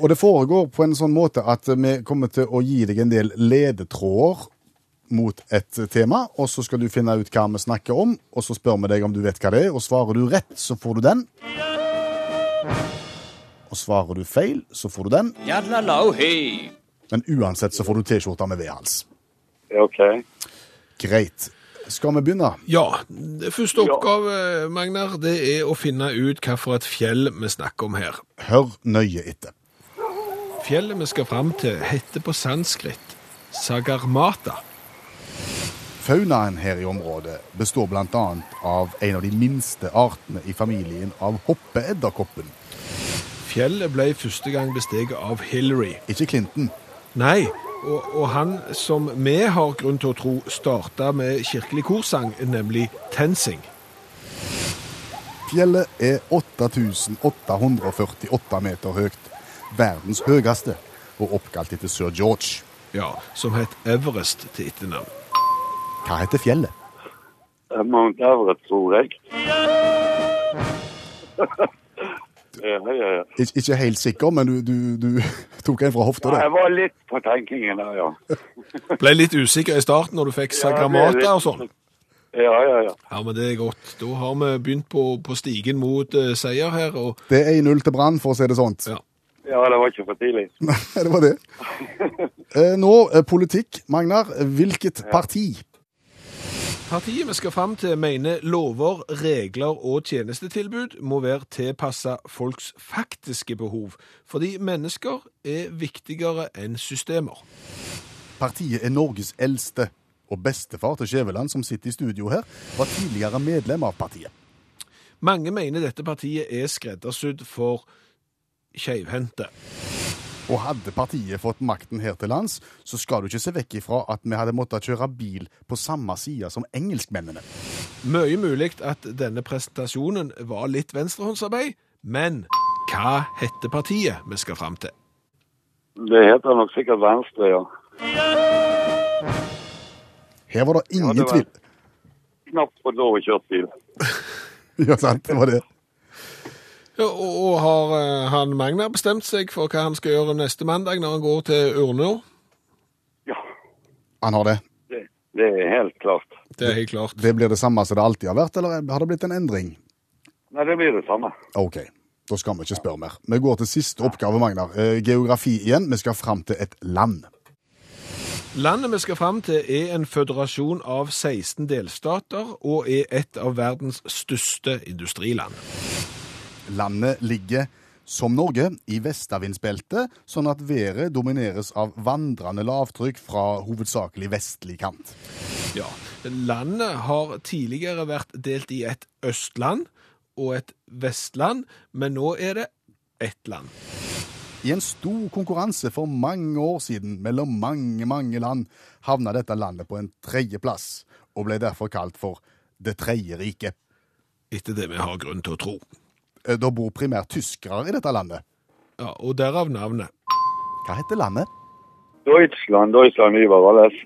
Speaker 2: Og det foregår på en sånn måte at vi kommer til å gi deg en del ledetråder mot et tema, og så skal du finne ut hva vi snakker om, og så spør vi deg om du vet hva det er, og svarer du rett, så får du den. Og svarer du feil, så får du den. Men uansett så får du T-skjorta med V-hals.
Speaker 6: OK. Eh,
Speaker 2: Greit. Skal vi begynne?
Speaker 3: Ja, det første oppgave, Magnar, det er å finne ut hva for et fjell vi snakker om her.
Speaker 2: Hør nøye etter.
Speaker 3: Fjellet vi skal fram til heter på sanskrit Sagarmata.
Speaker 2: Faunaen her i området består bl.a. av en av de minste artene i familien av hoppeedderkoppen.
Speaker 3: Fjellet ble første gang besteget av Hillary.
Speaker 2: Ikke Clinton.
Speaker 3: Nei, og, og han som vi har grunn til å tro starta med kirkelig korsang, nemlig Tensing.
Speaker 2: Fjellet er 8848 meter høyt. Verdens høyeste, og oppkalt etter sir George.
Speaker 3: Ja, som het Everest til etternavn.
Speaker 2: Hva heter fjellet?
Speaker 6: Eh, Mount Everett, tror jeg. Eh, hei, hei, hei.
Speaker 2: Ik ikke helt sikker, men du, du, du tok en fra hofta der.
Speaker 6: Jeg var litt på tenkingen der, ja.
Speaker 3: Ble litt usikker i starten når du fikk
Speaker 6: det
Speaker 3: Sagramata
Speaker 6: er
Speaker 3: og sånn.
Speaker 6: Ja, ja, ja.
Speaker 3: Ja, men det er godt. Da har vi begynt på, på stigen mot eh, seier her, og
Speaker 2: Det er 1-0 til Brann, for å si det sånt.
Speaker 3: ja.
Speaker 6: Ja, det var ikke for tidlig.
Speaker 2: Nei, det var det. Eh, Nå eh, politikk. Magnar, hvilket parti?
Speaker 3: Partiet vi skal fram til mener lover, regler og tjenestetilbud må være tilpassa folks faktiske behov, fordi mennesker er viktigere enn systemer.
Speaker 2: Partiet er Norges eldste. Og bestefar til Skjæveland, som sitter i studio her, var tidligere medlem av partiet.
Speaker 3: Mange mener dette partiet er skreddersydd for skeivhendte.
Speaker 2: Og hadde partiet fått makten her til lands, så skal du ikke se vekk ifra at vi hadde måttet kjøre bil på samme side som engelskmennene.
Speaker 3: Mye mulig at denne presentasjonen var litt venstrehåndsarbeid, men hva heter partiet vi skal fram til?
Speaker 6: Det heter nok sikkert Venstre, ja.
Speaker 2: Her var det ingen
Speaker 6: Ja, det var-
Speaker 2: tvil.
Speaker 6: Knapt fått lov å kjøre bil.
Speaker 2: Ja, sant, det var det.
Speaker 3: Ja, og, og har eh, han Magna bestemt seg for hva han skal gjøre neste mandag når han går til urna?
Speaker 6: Ja,
Speaker 2: Han har det.
Speaker 6: det, det er helt klart.
Speaker 3: Det er helt klart.
Speaker 2: Det blir det samme som det alltid har vært, eller har det blitt en endring?
Speaker 6: Nei, det blir det samme.
Speaker 2: OK, da skal vi ikke spørre mer. Vi går til siste oppgave, Magnar. Eh, Geografi igjen. Vi skal fram til et land.
Speaker 3: Landet vi skal fram til er en føderasjon av 16 delstater og er et av verdens største industriland.
Speaker 2: Landet ligger som Norge i vestavindsbeltet, sånn at været domineres av vandrende lavtrykk fra hovedsakelig vestlig kant.
Speaker 3: Ja, Landet har tidligere vært delt i et østland og et vestland, men nå er det ett land.
Speaker 2: I en stor konkurranse for mange år siden mellom mange, mange land havna dette landet på en tredjeplass, og ble derfor kalt for Det tredje riket.
Speaker 3: Etter det vi har grunn til å tro.
Speaker 2: Eh, Da bor primært tyskere i dette landet.
Speaker 3: Ja, Og derav navnet.
Speaker 2: Hva heter landet?
Speaker 6: Deutschland, Deutschland, Ivar alles.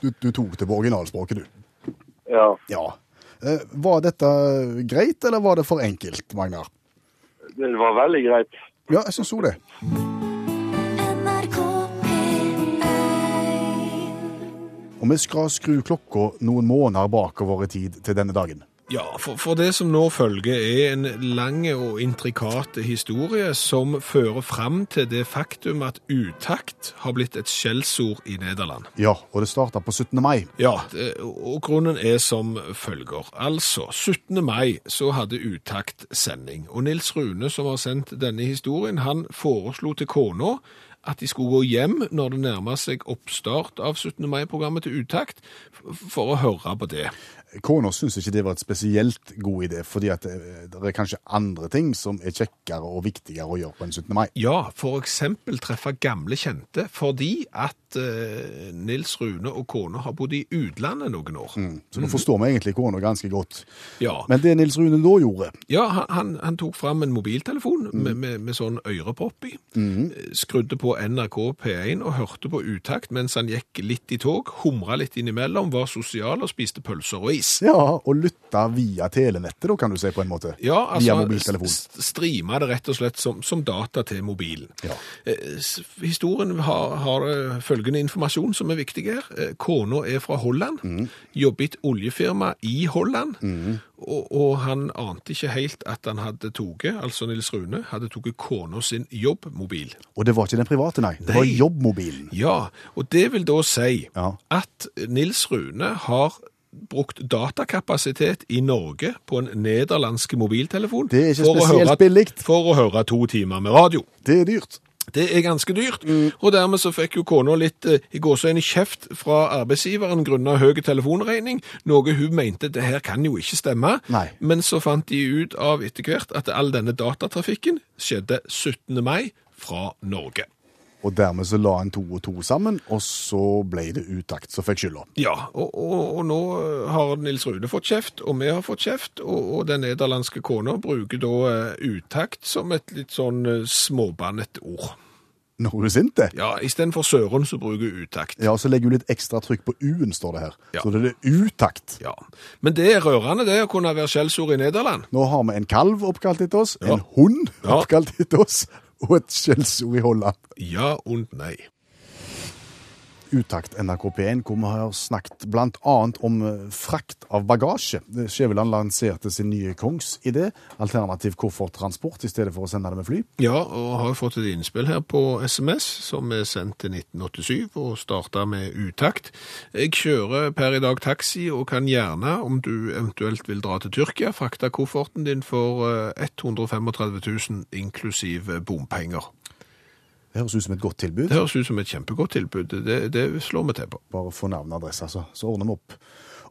Speaker 2: Du, du tok det på originalspråket, du.
Speaker 6: Ja,
Speaker 2: Ja. Eh, Var dette greit, eller var det for enkelt, Magnar?
Speaker 6: det var veldig greit.
Speaker 2: Ja, jeg syns jo det.
Speaker 1: NRK P1
Speaker 2: Og vi skal skru klokka noen måneder bakover i tid til denne dagen.
Speaker 3: Ja, for, for det som nå følger er en lang og intrikat historie som fører fram til det faktum at utakt har blitt et skjellsord i Nederland.
Speaker 2: Ja, og det starta på 17. mai.
Speaker 3: Ja, det- og grunnen er som følger. Altså, 17. mai så hadde Utakt sending, og Nils Rune, som har sendt denne historien, han foreslo til kona at de skulle gå hjem når det nærmer seg oppstart av 17. mai-programmet til Utakt, f- for å høre på det.
Speaker 2: Kona syns ikke det var et spesielt god idé, fordi at eh, det, det er kanskje andre ting som er kjekkere og viktigere å gjøre på en 17. mai.
Speaker 3: Ja, for eksempel treffe gamle kjente, fordi at eh, Nils Rune og kona har bodd i utlandet noen år.
Speaker 2: Så nå forstår vi egentlig kona ganske godt.
Speaker 3: Ja.
Speaker 2: Men det Nils Rune da gjorde
Speaker 3: Ja, han- han, han tok fram en mobiltelefon med, med, med sånn ørepropp i, eh, skrudde på NRK P1 og hørte på utakt mens han gikk litt i tog, humra litt innimellom, var sosial og spiste pølser og is.
Speaker 2: Ja, å lytte via telenettet, da, kan du si, på en måte.
Speaker 3: Ja,
Speaker 2: via
Speaker 3: altså
Speaker 2: mobiltelefon.
Speaker 3: st- streama det rett og slett som, som data til mobilen.
Speaker 2: Ja.
Speaker 3: Eh, s- Historien har, har eh, følgende informasjon som er viktig her. Eh, Kona er fra Holland,
Speaker 2: Mm.
Speaker 3: jobber i et oljefirma i Holland, og, og han ante ikke helt at han hadde toget, altså Nils Rune, hadde toget kona sin jobbmobil.
Speaker 2: Og det var ikke den private, nei. Det var
Speaker 3: Nei.
Speaker 2: jobbmobilen.
Speaker 3: Ja, og det vil da si
Speaker 2: Ja.
Speaker 3: at Nils Rune har brukt datakapasitet i Norge på en nederlandsk mobiltelefon
Speaker 2: Det er ikke
Speaker 3: for å
Speaker 2: spesielt
Speaker 3: høre-
Speaker 2: billigt.
Speaker 3: for å høre to timer med radio.
Speaker 2: Det er dyrt.
Speaker 3: Det er ganske dyrt,
Speaker 2: Mm.
Speaker 3: og dermed så fikk jo kona litt eh, i gåsøgne kjeft fra arbeidsgiveren grunnet høy telefonregning, noe hun mente det her kan jo ikke stemme.
Speaker 2: Nei.
Speaker 3: Men så fant de ut av etter hvert at all denne datatrafikken skjedde 17. mai fra Norge.
Speaker 2: Og dermed så la en to og to sammen, og så ble det utakt som fikk skylda.
Speaker 3: Ja, og, og, og nå eh, har Nils Rune fått kjeft, og vi har fått kjeft, og, og den nederlandske kona bruker da eh, utakt som et litt sånn eh, småbannet ord.
Speaker 2: Når hun er sint, det.
Speaker 3: Ja, istedenfor Søren så bruker hun utakt.
Speaker 2: Ja, og så legger hun litt ekstra trykk på U-en, står det her.
Speaker 3: Ja.
Speaker 2: Så det er utakt.
Speaker 3: Ja. Men det er rørende det å kunne være skjellsord i Nederland.
Speaker 2: Nå har vi en kalv oppkalt etter oss,
Speaker 3: Ja.
Speaker 2: en hund
Speaker 3: Ja.
Speaker 2: oppkalt etter oss, og et skjellsord i Holland.
Speaker 3: Ja og nei.
Speaker 2: Utakt NRK P1, hvor vi har snakket blant annet om eh, frakt av bagasje. Skjæveland lanserte sin nye kongsidé, alternativ kofferttransport, i stedet for å sende det med fly.
Speaker 3: Ja, og har fått et innspill her på SMS, som er sendt til 1987 og starta med utakt. Jeg kjører per i dag taxi og kan gjerne, om du eventuelt vil dra til Tyrkia, frakte kofferten din for eh, 135 000 inklusiv bompenger.
Speaker 2: Det høres ut som et godt tilbud.
Speaker 3: Det høres ut som et kjempegodt tilbud. Det, det slår vi til på.
Speaker 2: Bare få navn og adresse, altså. Så ordner vi opp.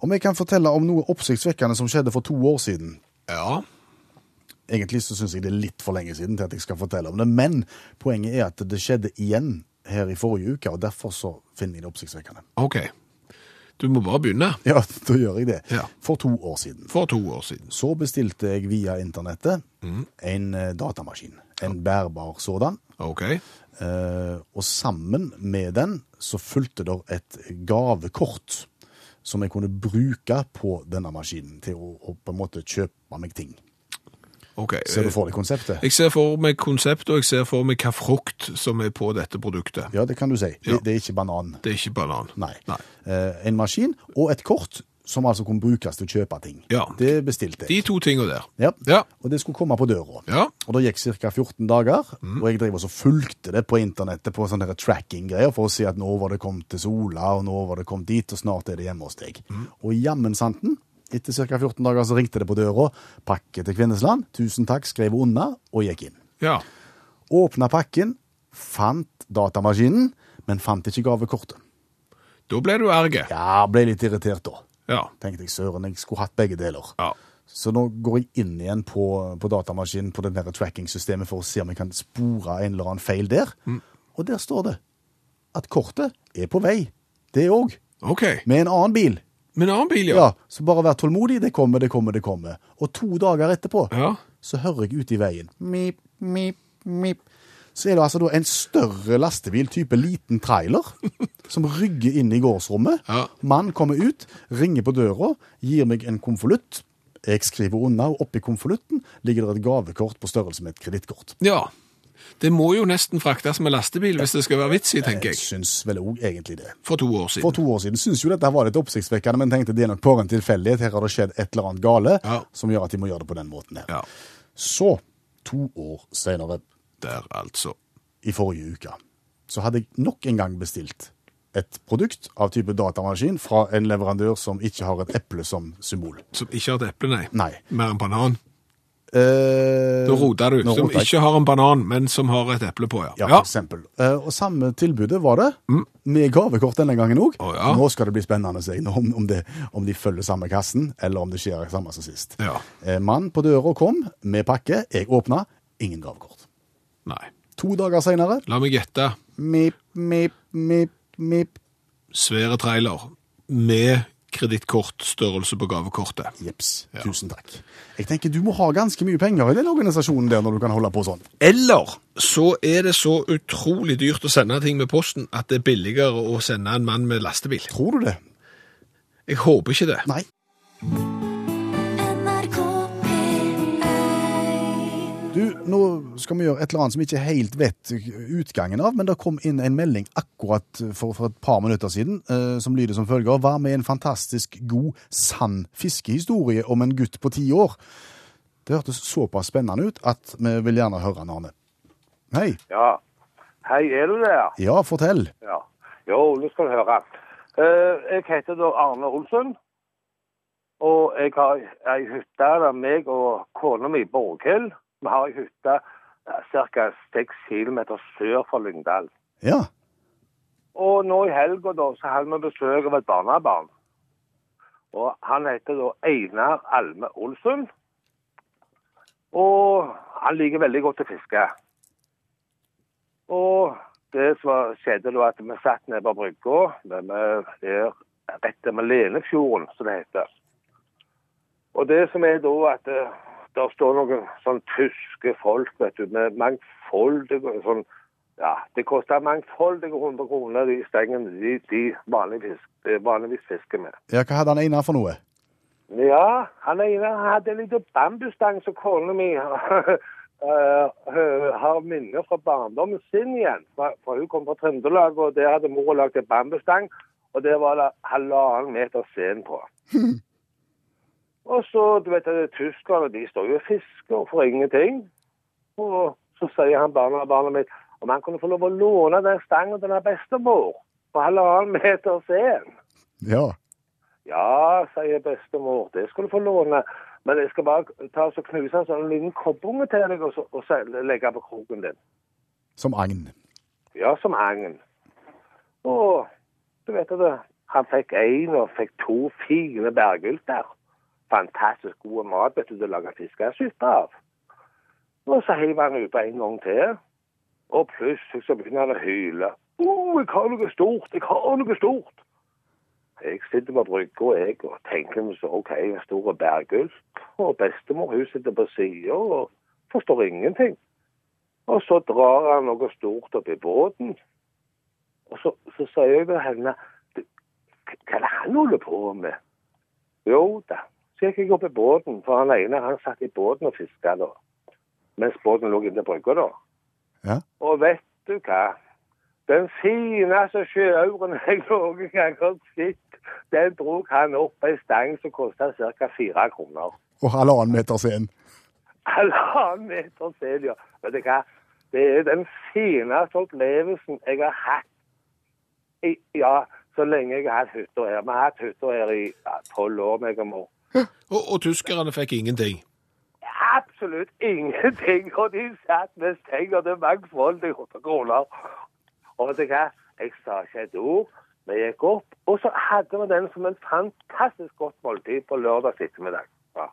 Speaker 2: Om jeg kan fortelle om noe oppsiktsvekkende som skjedde for to år siden.
Speaker 3: Ja.
Speaker 2: Egentlig så syns jeg det er litt for lenge siden til at jeg skal fortelle om det, men poenget er at det skjedde igjen her i forrige uke, og derfor så finner jeg det oppsiktsvekkende.
Speaker 3: OK. Du må bare begynne.
Speaker 2: Ja, da gjør jeg det.
Speaker 3: Ja.
Speaker 2: For to år siden
Speaker 3: For to år siden. Mm.
Speaker 2: så bestilte jeg via internettet en eh, datamaskin. en bærbar sådan.
Speaker 3: OK.
Speaker 2: Eh, og sammen med den så fulgte der et gavekort som jeg kunne bruke på denne maskinen til å, å på en måte kjøpe meg ting.
Speaker 3: ok.
Speaker 2: Ser du for deg konseptet?
Speaker 3: Eh, Jeg ser for meg konseptet, og jeg ser for meg hva frukt som er på dette produktet.
Speaker 2: Ja, det kan du si.
Speaker 3: Ja.
Speaker 2: Det, det er ikke banan.
Speaker 3: Det er ikke banan.
Speaker 2: Nei.
Speaker 3: Nei.
Speaker 2: Eh, en maskin og et kort som altså kunne brukes til å kjøpe ting.
Speaker 3: Ja.
Speaker 2: Det bestilte
Speaker 3: De
Speaker 2: jeg.
Speaker 3: to tingene der.
Speaker 2: Ja.
Speaker 3: Ja.
Speaker 2: Og det skulle komme på døra.
Speaker 3: Ja. Mm.
Speaker 2: Og det gikk ca. 14 dager, og jeg drev og så fulgte det på internettet på sånne her tracking-greier for å se at nå var det kommet til Sola, og nå var det kommet dit, og snart er det hjemme hos deg.
Speaker 3: Mm.
Speaker 2: Og jammen santen, etter ca. 14 dager så ringte det på døra, pakke til Kvinnesland, tusen takk, skrev unna, og gikk inn.
Speaker 3: ja.
Speaker 2: Åpna pakken, fant datamaskinen, men fant ikke gavekortet.
Speaker 3: Da ble du erg. Ja.
Speaker 2: Ja, ble litt irritert da.
Speaker 3: Ja.
Speaker 2: Tenkte jeg, søren, jeg skulle hatt begge deler.
Speaker 3: ja.
Speaker 2: Så nå går jeg inn igjen på, på datamaskinen på det der tracking-systemet for å se om jeg kan spore en eller annen feil der.
Speaker 3: Mm.
Speaker 2: Og der står det at kortet er på vei, det òg,
Speaker 3: OK.
Speaker 2: med en annen bil.
Speaker 3: Med en annen bil,
Speaker 2: Ja,
Speaker 3: ja.
Speaker 2: Så bare vær tålmodig, det kommer, det kommer, det kommer. Og to dager etterpå
Speaker 3: Ja.
Speaker 2: så hører jeg ute i veien mip, mip, mip. Så er det altså da en større lastebil, type liten trailer, som rygger inn i gårdsrommet.
Speaker 3: Ja.
Speaker 2: Mann kommer ut, ringer på døra, gir meg en konvolutt. Jeg skriver unna, og oppi konvolutten ligger det et gavekort på størrelse med et kredittkort.
Speaker 3: ja. Det må jo nesten fraktes med lastebil hvis det skal være vits i, tenker
Speaker 2: Jeg
Speaker 3: jeg.
Speaker 2: syns vel òg egentlig det.
Speaker 3: For to år
Speaker 2: For
Speaker 3: siden.
Speaker 2: to år siden syntes jo dette var litt oppsiktsvekkende, men tenkte det er nok bare en tilfeldighet. Her har det skjedd et eller annet gale
Speaker 3: Ja.
Speaker 2: som gjør at de må gjøre det på den måten her.
Speaker 3: Ja.
Speaker 2: Så, to år senere,
Speaker 3: Der, altså.
Speaker 2: i forrige uke, så hadde jeg nok en gang bestilt et produkt av type datamaskin fra en leverandør som ikke har et eple som symbol.
Speaker 3: Som ikke har et eple, nei.
Speaker 2: Nei.
Speaker 3: Mer enn banan.
Speaker 2: Eh,
Speaker 3: Da roter du.
Speaker 2: nå
Speaker 3: Som
Speaker 2: roter jeg.
Speaker 3: ikke har en banan, men som har et eple på, ja. Mm.
Speaker 2: Ja, for eksempel. Eh, og samme tilbudet var det, med gavekort denne gangen òg.
Speaker 3: Å, ja.
Speaker 2: Nå skal det bli spennende å se om, om, det, om de følger samme kassen, eller om det skjer det samme som sist.
Speaker 3: Ja.
Speaker 2: Eh, mann på døra kom med pakke, jeg åpna, ingen gavekort.
Speaker 3: Nei.
Speaker 2: To dager seinere
Speaker 3: La meg gjette.
Speaker 2: Mip, mip, mip, mip.
Speaker 3: Svære trailer med kredittkortstørrelse på gavekortet.
Speaker 2: Jeps. Tusen takk. Jeg tenker Du må ha ganske mye penger i den organisasjonen der når du kan holde på sånn.
Speaker 3: Eller så er det så utrolig dyrt å sende ting med posten at det er billigere å sende en mann med lastebil.
Speaker 2: Tror du det?
Speaker 3: Jeg håper ikke det.
Speaker 2: Nei.
Speaker 1: NRK P1
Speaker 2: Du, nå skal vi gjøre et eller annet som vi ikke helt vet utgangen av, men det kom inn en melding akkurat for, for et par minutter siden eh, som lyder som følger. Hva med en fantastisk god, sann fiskehistorie om en gutt på ti år? Det hørtes såpass spennende ut at vi vil gjerne høre en Arne. Hei.
Speaker 6: Ja. Hei, er du der?
Speaker 2: Ja, fortell.
Speaker 6: Ja. Jo, nå skal du høre. Eh, jeg heter da Arne Olsen. Og jeg har ei hytte der meg og kona mi, Borghild, vi har ei hytte eh, ca. 6 km sør for Lyngdal.
Speaker 2: Ja.
Speaker 6: Og nå i helga da, så hadde vi besøk av et barnebarn. Og han heter da Einar Alme Olsen. Og han liker veldig godt å fiske. Og det som var- skjedde da at vi satt nede på brygga, men vi er rett med Lenefjorden, som det heter. Og det som er da at eh, der står noen sånn tyske folk, vet du, med mangfoldige sånn ja, det koster mangfoldige 100 kroner de stengene de, de vanligvis, eh, vanligvis fisker med.
Speaker 2: ja, hva hadde han ene for noe?
Speaker 6: Ja, han ene hadde en liten bambusstang som kona mi eh, har minner fra barndommen sin igjen. For, for hun kom fra Trøndelag, og der hadde mor lagd en bambusstang. Og der var det halvannen meter sen på. og så, du vet, det er tyskerne de står jo og fisker og får ingenting. Og så sier han barna, barna mitt om han kunne få lov å låne den stangen til den bestemor på halvannen meter sen.
Speaker 2: Ja.
Speaker 6: Ja, sier bestemor, det skal du få låne. Men jeg skal bare ta og så knuse en sånn liten kobberunge til deg og, så, og så legge på kroken din.
Speaker 2: Som agn.
Speaker 6: Ja, som agn. Og du vet det, han fikk én og fikk to fine bergulter. Fantastisk god mat vet du, til å lage fiskesuppe av. Og så heiv han utpå en gang til, og plutselig så begynner han å hyle. Å, jeg har noe stort, jeg har noe stort. Jeg sitter på brygga jeg, og tenker meg så OK, en stor bergulp. Og bestemor hun sitter på sida og forstår ingenting. Og så drar han noe stort opp i båten. Og så, så sier jeg til henne «Du, Hva hva er det han holder på med? Jo da. Så gikk jeg opp i båten, for han ene han satt i båten og fiska da. Mens båten lå inne i brygga da.
Speaker 2: Ja.
Speaker 6: Og vet du hva? Den fineste sjøauren jeg noen gang har sett, den drog han opp ei stang som kosta ca. fire kroner.
Speaker 2: Og halvannen meter sen.
Speaker 6: Halvannen meter sel, ja. Vet du hva? Det er den fineste opplevelsen jeg har hatt. I, ja, så lenge jeg har hatt hytta her. Vi har hatt hytta her i tolv år, meg og mor.
Speaker 3: Og, og tyskerne fikk ingenting.
Speaker 6: Absolutt ingenting. Og de satt med stenger til mangfoldige hundre kroner. Og vet du hva? Jeg sa ikke et ord. Vi gikk opp, og så hadde vi den som en fantastisk godt måltid på lørdag ettermiddag. Ja.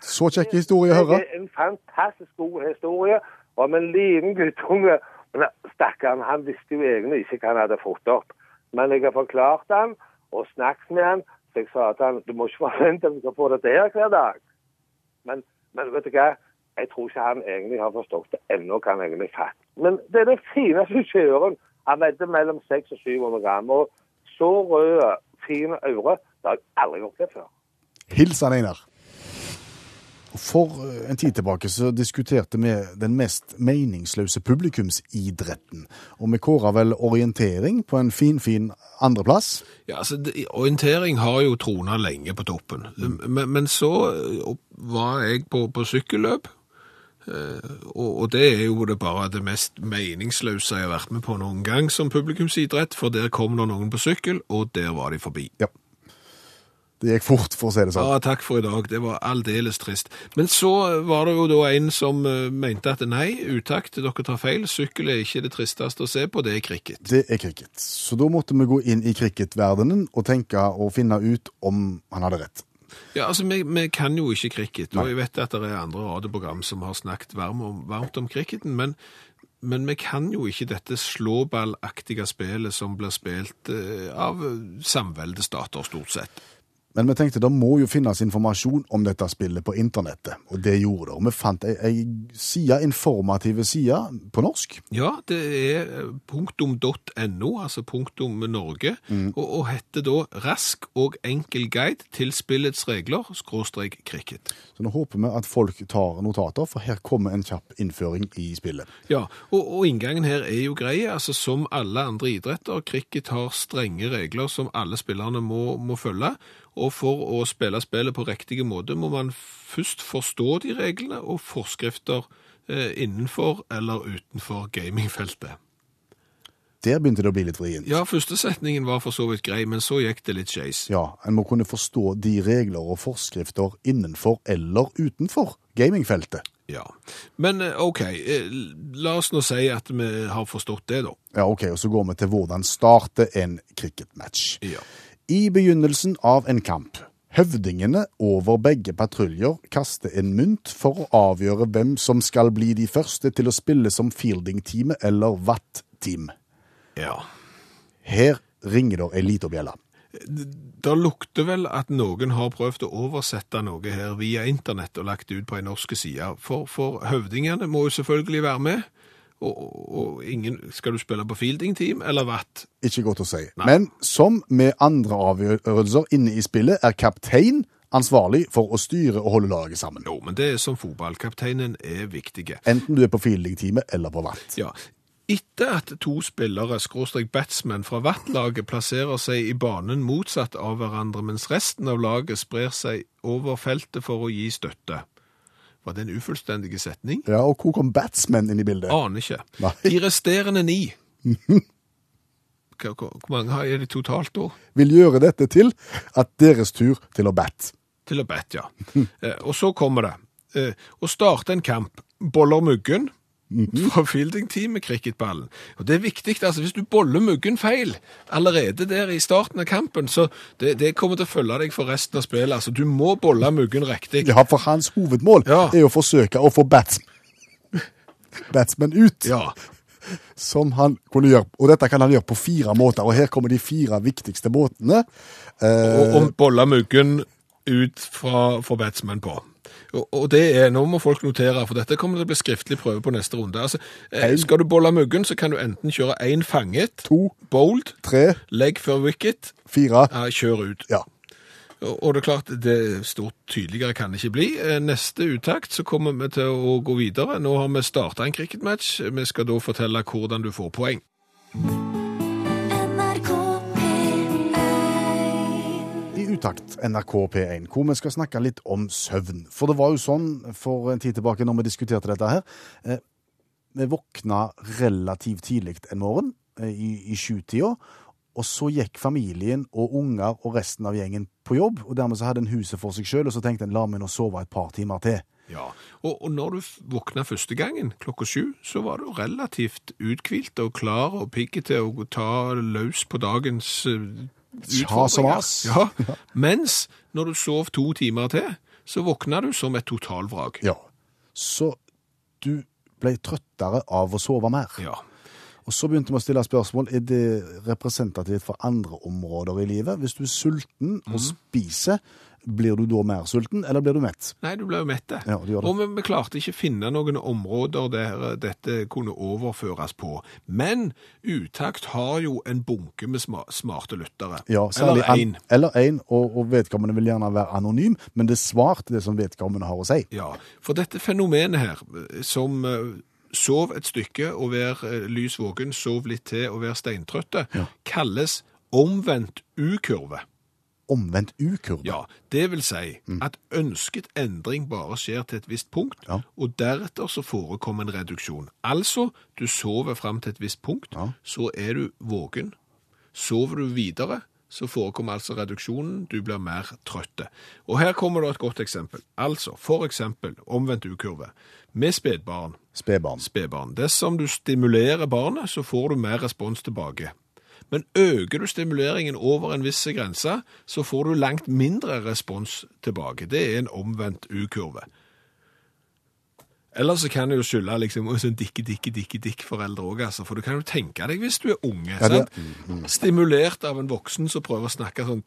Speaker 2: Så kjekk historie å høre.
Speaker 6: Det er en fantastisk god historie om en liten guttunge. Men stakkaren, han visste jo egentlig ikke hva han hadde fått opp. Men jeg har forklart han og snakket med han, så jeg sa til han, du må ikke forvente at du skal få det der hver dag. Men, men vet du hva? Jeg tror ikke han egentlig har forstått det ennå, hva han egentlig fatt. Men det er det fineste kjøren. Han veide mellom 600 og 700 gram, og så røde, fine øre, det har jeg aldri opplevd før.
Speaker 2: Hilsen, Einar. For eh, en tid tilbake så diskuterte vi den mest meningsløse publikumsidretten. Og vi kåra vel orientering på en finfin andreplass.
Speaker 3: Ja, altså, det- Orientering har jo trona lenge på toppen. Men, men så eh, opp- var jeg på, på sykkelløp, eh, og, og det er jo det bare det mest meningsløse jeg har vært med på noen gang som publikumsidrett, for der kom det noen på sykkel, og der var de forbi.
Speaker 2: Det gikk fort, for å si det sånn.
Speaker 3: Ja, takk for i dag. Det var aldeles trist. Men så var det jo da en som eh, mente at nei, utakt, dere tar feil. Sykkel er ikke det tristeste å se på, det er cricket.
Speaker 2: Det er cricket. Så da måtte vi gå inn i cricketverdenen og tenke og finne ut om han hadde rett.
Speaker 3: Ja, altså, vi, vi kan jo ikke cricket, og jeg vet at det er andre radioprogram som har snakket varm om, varmt om cricketen, men, men vi kan jo ikke dette slåballaktige spillet som blir spilt eh, av samveldestater, stort sett.
Speaker 2: Men vi tenkte det må jo finnes informasjon om dette spillet på internettet, og det gjorde det. Og vi fant ei, ei side, informative side, på norsk.
Speaker 3: Ja, det er eh, punktum.no, altså punktum Norge, og, og heter da Rask og enkel guide til spillets regler, skråstrek cricket.
Speaker 2: Så nå håper vi at folk tar notater, for her kommer en kjapp innføring i spillet.
Speaker 3: Ja, og, og inngangen her er jo grei, altså som alle andre idretter. Cricket har strenge regler som alle spillerne må, må følge, og for å spille spillet på riktig måte må man først forstå de reglene og forskrifter eh, innenfor eller utenfor gamingfeltet.
Speaker 2: Der begynte det å bli litt vrient.
Speaker 3: Ja, første setningen var for så vidt grei, men så gikk det litt skeis.
Speaker 2: Ja, en må kunne forstå de regler og forskrifter innenfor eller utenfor gamingfeltet.
Speaker 3: Ja. Men eh, OK, eh, la oss nå si at vi har forstått det, da.
Speaker 2: Ja, ok, og så går vi til hvordan starte en cricketmatch.
Speaker 3: Ja.
Speaker 2: I begynnelsen av en kamp. Høvdingene over begge patruljer kaster en mynt for å avgjøre hvem som skal bli de første til å spille som fielding-teamet eller watt-team.
Speaker 3: ja.
Speaker 2: Her ringer der ei lita bjelle.
Speaker 3: Det lukter vel at noen har prøvd å oversette noe her via internett og lagt det ut på en norsk side. For, for høvdingene må jo selvfølgelig være med. Og, og, og ingen, skal du spille på fielding team eller vatt?
Speaker 2: Ikke godt å si.
Speaker 3: Nei.
Speaker 2: Men som med andre avgjørelser inne i spillet, er kaptein ansvarlig for å styre og holde laget sammen.
Speaker 3: Jo, men det er som fotballkapteinen er viktige.
Speaker 2: Enten du er på fielding-teamet eller på watt.
Speaker 3: Ja. Etter at to spillere, skråstrek batsmen, fra vattlaget plasserer seg i banen motsatt av hverandre, mens resten av laget sprer seg over feltet for å gi støtte. Var det en ufullstendig setning?
Speaker 2: Ja, og hvor kom batsmen inn i bildet?
Speaker 3: Aner ikke.
Speaker 2: Nei.
Speaker 3: De resterende ni. Hvor hvor- hvor mange har- er det totalt da?
Speaker 2: Vil gjøre dette til at deres tur til å bat.
Speaker 3: Til å bet, ja. Eh, og så kommer det. Eh, å starte en kamp. Boller muggen
Speaker 2: Mhm.
Speaker 3: fra fielding-team med cricketballen. Og Det er viktig, altså. Hvis du boller muggen feil allerede der i starten av kampen, så det, det kommer til å følge deg for resten av spillet. Altså, du må bolle muggen riktig.
Speaker 2: Ja, for hans hovedmål
Speaker 3: Ja.
Speaker 2: er å forsøke å få bats batsmen ut,
Speaker 3: Ja.
Speaker 2: som han kunne gjøre. Og dette kan han gjøre på fire måter, og her kommer de fire viktigste måtene.
Speaker 3: Og om bolle muggen ut fra for batsman på. Og, og det er, Nå må folk notere, for dette kommer til å bli skriftlig prøve på neste runde. Altså, eh, skal du bolle muggen, så kan du enten kjøre én fanget,
Speaker 2: To,
Speaker 3: bold,
Speaker 2: tre,
Speaker 3: legg før wicket,
Speaker 2: fire.
Speaker 3: ja, kjør ut.
Speaker 2: Ja.
Speaker 3: Og og det er klart, det er stort tydeligere kan det ikke bli. Eh, Neste uttakt så kommer vi til å gå videre. Nå har vi starta en cricketmatch. Vi skal da fortelle hvordan du får poeng.
Speaker 1: NRK P1
Speaker 2: I utakt NRK P1, hvor vi skal snakke litt om søvn. For det var jo sånn for en tid tilbake når vi diskuterte dette her. eh, Vi våkna relativt tidlig en morgen eh, i, i sjutida, og så gikk familien og unger og resten av gjengen på jobb, og dermed så hadde en huset for seg sjøl, og så tenkte en la meg nå sove et par timer til.
Speaker 3: Ja, og, og når du f- våkna første gangen klokka sju, så var du relativt uthvilt og klar og pigg til å ta løs på dagens eh, utfordringer.
Speaker 2: Kjas og mas.
Speaker 3: Ja, mens når du sov to timer til, så våkna du som et totalvrak.
Speaker 2: Ja. Så du ble trøttere av å sove mer.
Speaker 3: Ja.
Speaker 2: Og så begynte vi å stille spørsmål er det representativt for andre områder i livet. Hvis du er sulten og
Speaker 3: Mhm.
Speaker 2: spiser, blir du da mer sulten, eller blir du mett?
Speaker 3: Nei, du ble jo mett.
Speaker 2: Ja, du gjorde det.
Speaker 3: og vi, vi klarte ikke finne noen områder der eh, dette kunne overføres på. Men Utakt har jo en bunke med sma smarte lyttere.
Speaker 2: Ja,
Speaker 3: Eller
Speaker 2: særlig an-
Speaker 3: én.
Speaker 2: Eller én, og, og vedkommende vil gjerne være anonym, men det er svart, det som vedkommende har å si.
Speaker 3: Ja, for dette fenomenet her, eh, som eh, sov et stykke og vær eh, lys våken, sov litt til og vær steintrøtte, kalles omvendt U-kurve.
Speaker 2: Omvendt ukurve.
Speaker 3: Ja, det vil si at ønsket endring bare skjer til et visst punkt,
Speaker 2: Ja.
Speaker 3: og deretter så forekommer en reduksjon. Altså, du sover frem til et visst punkt,
Speaker 2: Ja.
Speaker 3: så er du våken. Sover du videre, så forekommer altså reduksjonen, du blir mer trøtte. Og her kommer da et godt eksempel. Altså, for eksempel, omvendt ukurve. Med spedbarn,
Speaker 2: Spedbarn.
Speaker 3: spedbarn. Dersom du stimulerer barnet, så får du mer respons tilbake. Men øker du stimuleringen over en viss grense, så får du langt mindre respons tilbake. Det er en omvendt U-kurve. Ellers så kan jeg jo skylde liksom, og sånn dikke, dikke, dikke, dikke foreldre òg, altså. For du kan jo tenke deg hvis du er unge.
Speaker 2: Ja, det-
Speaker 3: sant? Stimulert av en voksen som prøver å snakke sånn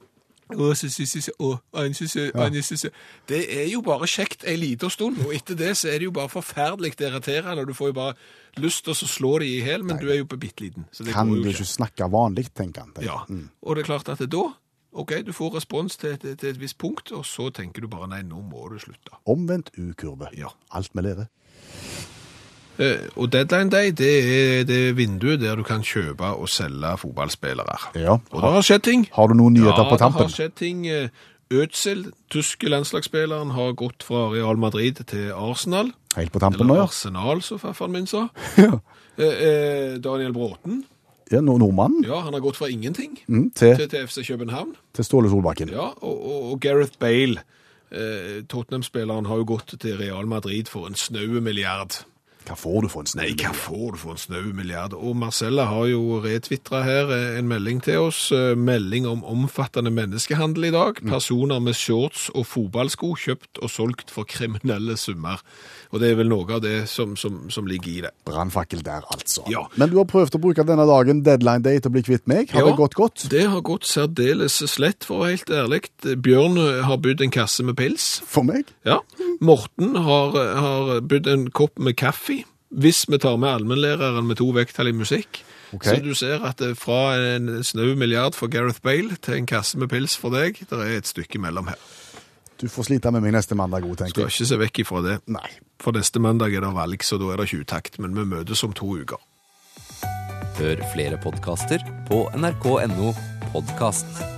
Speaker 3: å, sy, sy, sy, sy, å, an, sy, sy, an, sy, sy. Det er jo bare kjekt ei lita stund, og etter det så er det jo bare forferdelig irriterende. og Du får jo bare lyst til å så slå de i hjel, men du er jo bitte liten. Så det
Speaker 2: Kan
Speaker 3: går
Speaker 2: du
Speaker 3: jo
Speaker 2: ikke snakke vanlig, tenker han. Mm.
Speaker 3: ja, og det er klart at det da, ok, du får respons til, til, til et visst punkt, og så tenker du bare, nei, nå må du slutte.
Speaker 2: Omvendt ukurve.
Speaker 3: Ja.
Speaker 2: Alt vi lærer.
Speaker 3: Eh, og Deadline Day, det er det vinduet der du kan kjøpe og selge fotballspillere.
Speaker 2: Ja.
Speaker 3: Og det har skjedd ting.
Speaker 2: Har du noen nyheter på
Speaker 3: Ja, det
Speaker 2: tampen?
Speaker 3: har skjedd ting. Eh, Özil, tyske landslagsspilleren, har gått fra Real Madrid til Arsenal.
Speaker 2: Helt på tampen nå,
Speaker 3: Eller
Speaker 2: ja.
Speaker 3: Arsenal, som farfaren min sa. Eh, eh, Daniel Bråten,
Speaker 2: ja nord- Nordmannen
Speaker 3: ja, han har gått fra ingenting
Speaker 2: mm, til,
Speaker 3: til, til FC København.
Speaker 2: til Ståle Solbakken.
Speaker 3: Ja, og, og, og Gareth Bale, eh, Tottenham-spilleren, har jo gått til Real Madrid for en snaue milliard.
Speaker 2: Hva får du for en snø?
Speaker 3: Nei, hva får du for en snaue milliard? Og Marcella har jo retvitra her eh, en melding til oss. eh, Melding om omfattende menneskehandel i dag. Personer med shorts og fotballsko kjøpt og solgt for kriminelle summer. Og det er vel noe av det som, som, som ligger i det.
Speaker 2: Brannfakkel der, altså.
Speaker 3: Ja.
Speaker 2: Men du har prøvd å bruke denne dagen deadline day til å bli kvitt meg. Har
Speaker 3: Ja.
Speaker 2: det gått godt?
Speaker 3: Det har gått særdeles slett, for å være helt ærlig. Bjørn eh, har budt en kasse med pils.
Speaker 2: For meg?
Speaker 3: Ja. Morten har, har budt en kopp med kaffe, hvis vi tar med allmennlæreren med to vekttall i musikk.
Speaker 2: Ok.
Speaker 3: Så du ser at det er fra en snau milliard for Gareth Bale til en kasse med pils for deg, det er et stykke mellom her.
Speaker 2: Du får slite med meg neste mandag òg,
Speaker 3: Skal
Speaker 2: tenker jeg.
Speaker 3: ikke se vekk ifra det.
Speaker 2: Nei.
Speaker 3: For neste mandag er det valg, så da er det ikke utakt, men vi møtes om to uker.
Speaker 7: Hør flere podkaster på nrk.no podkast.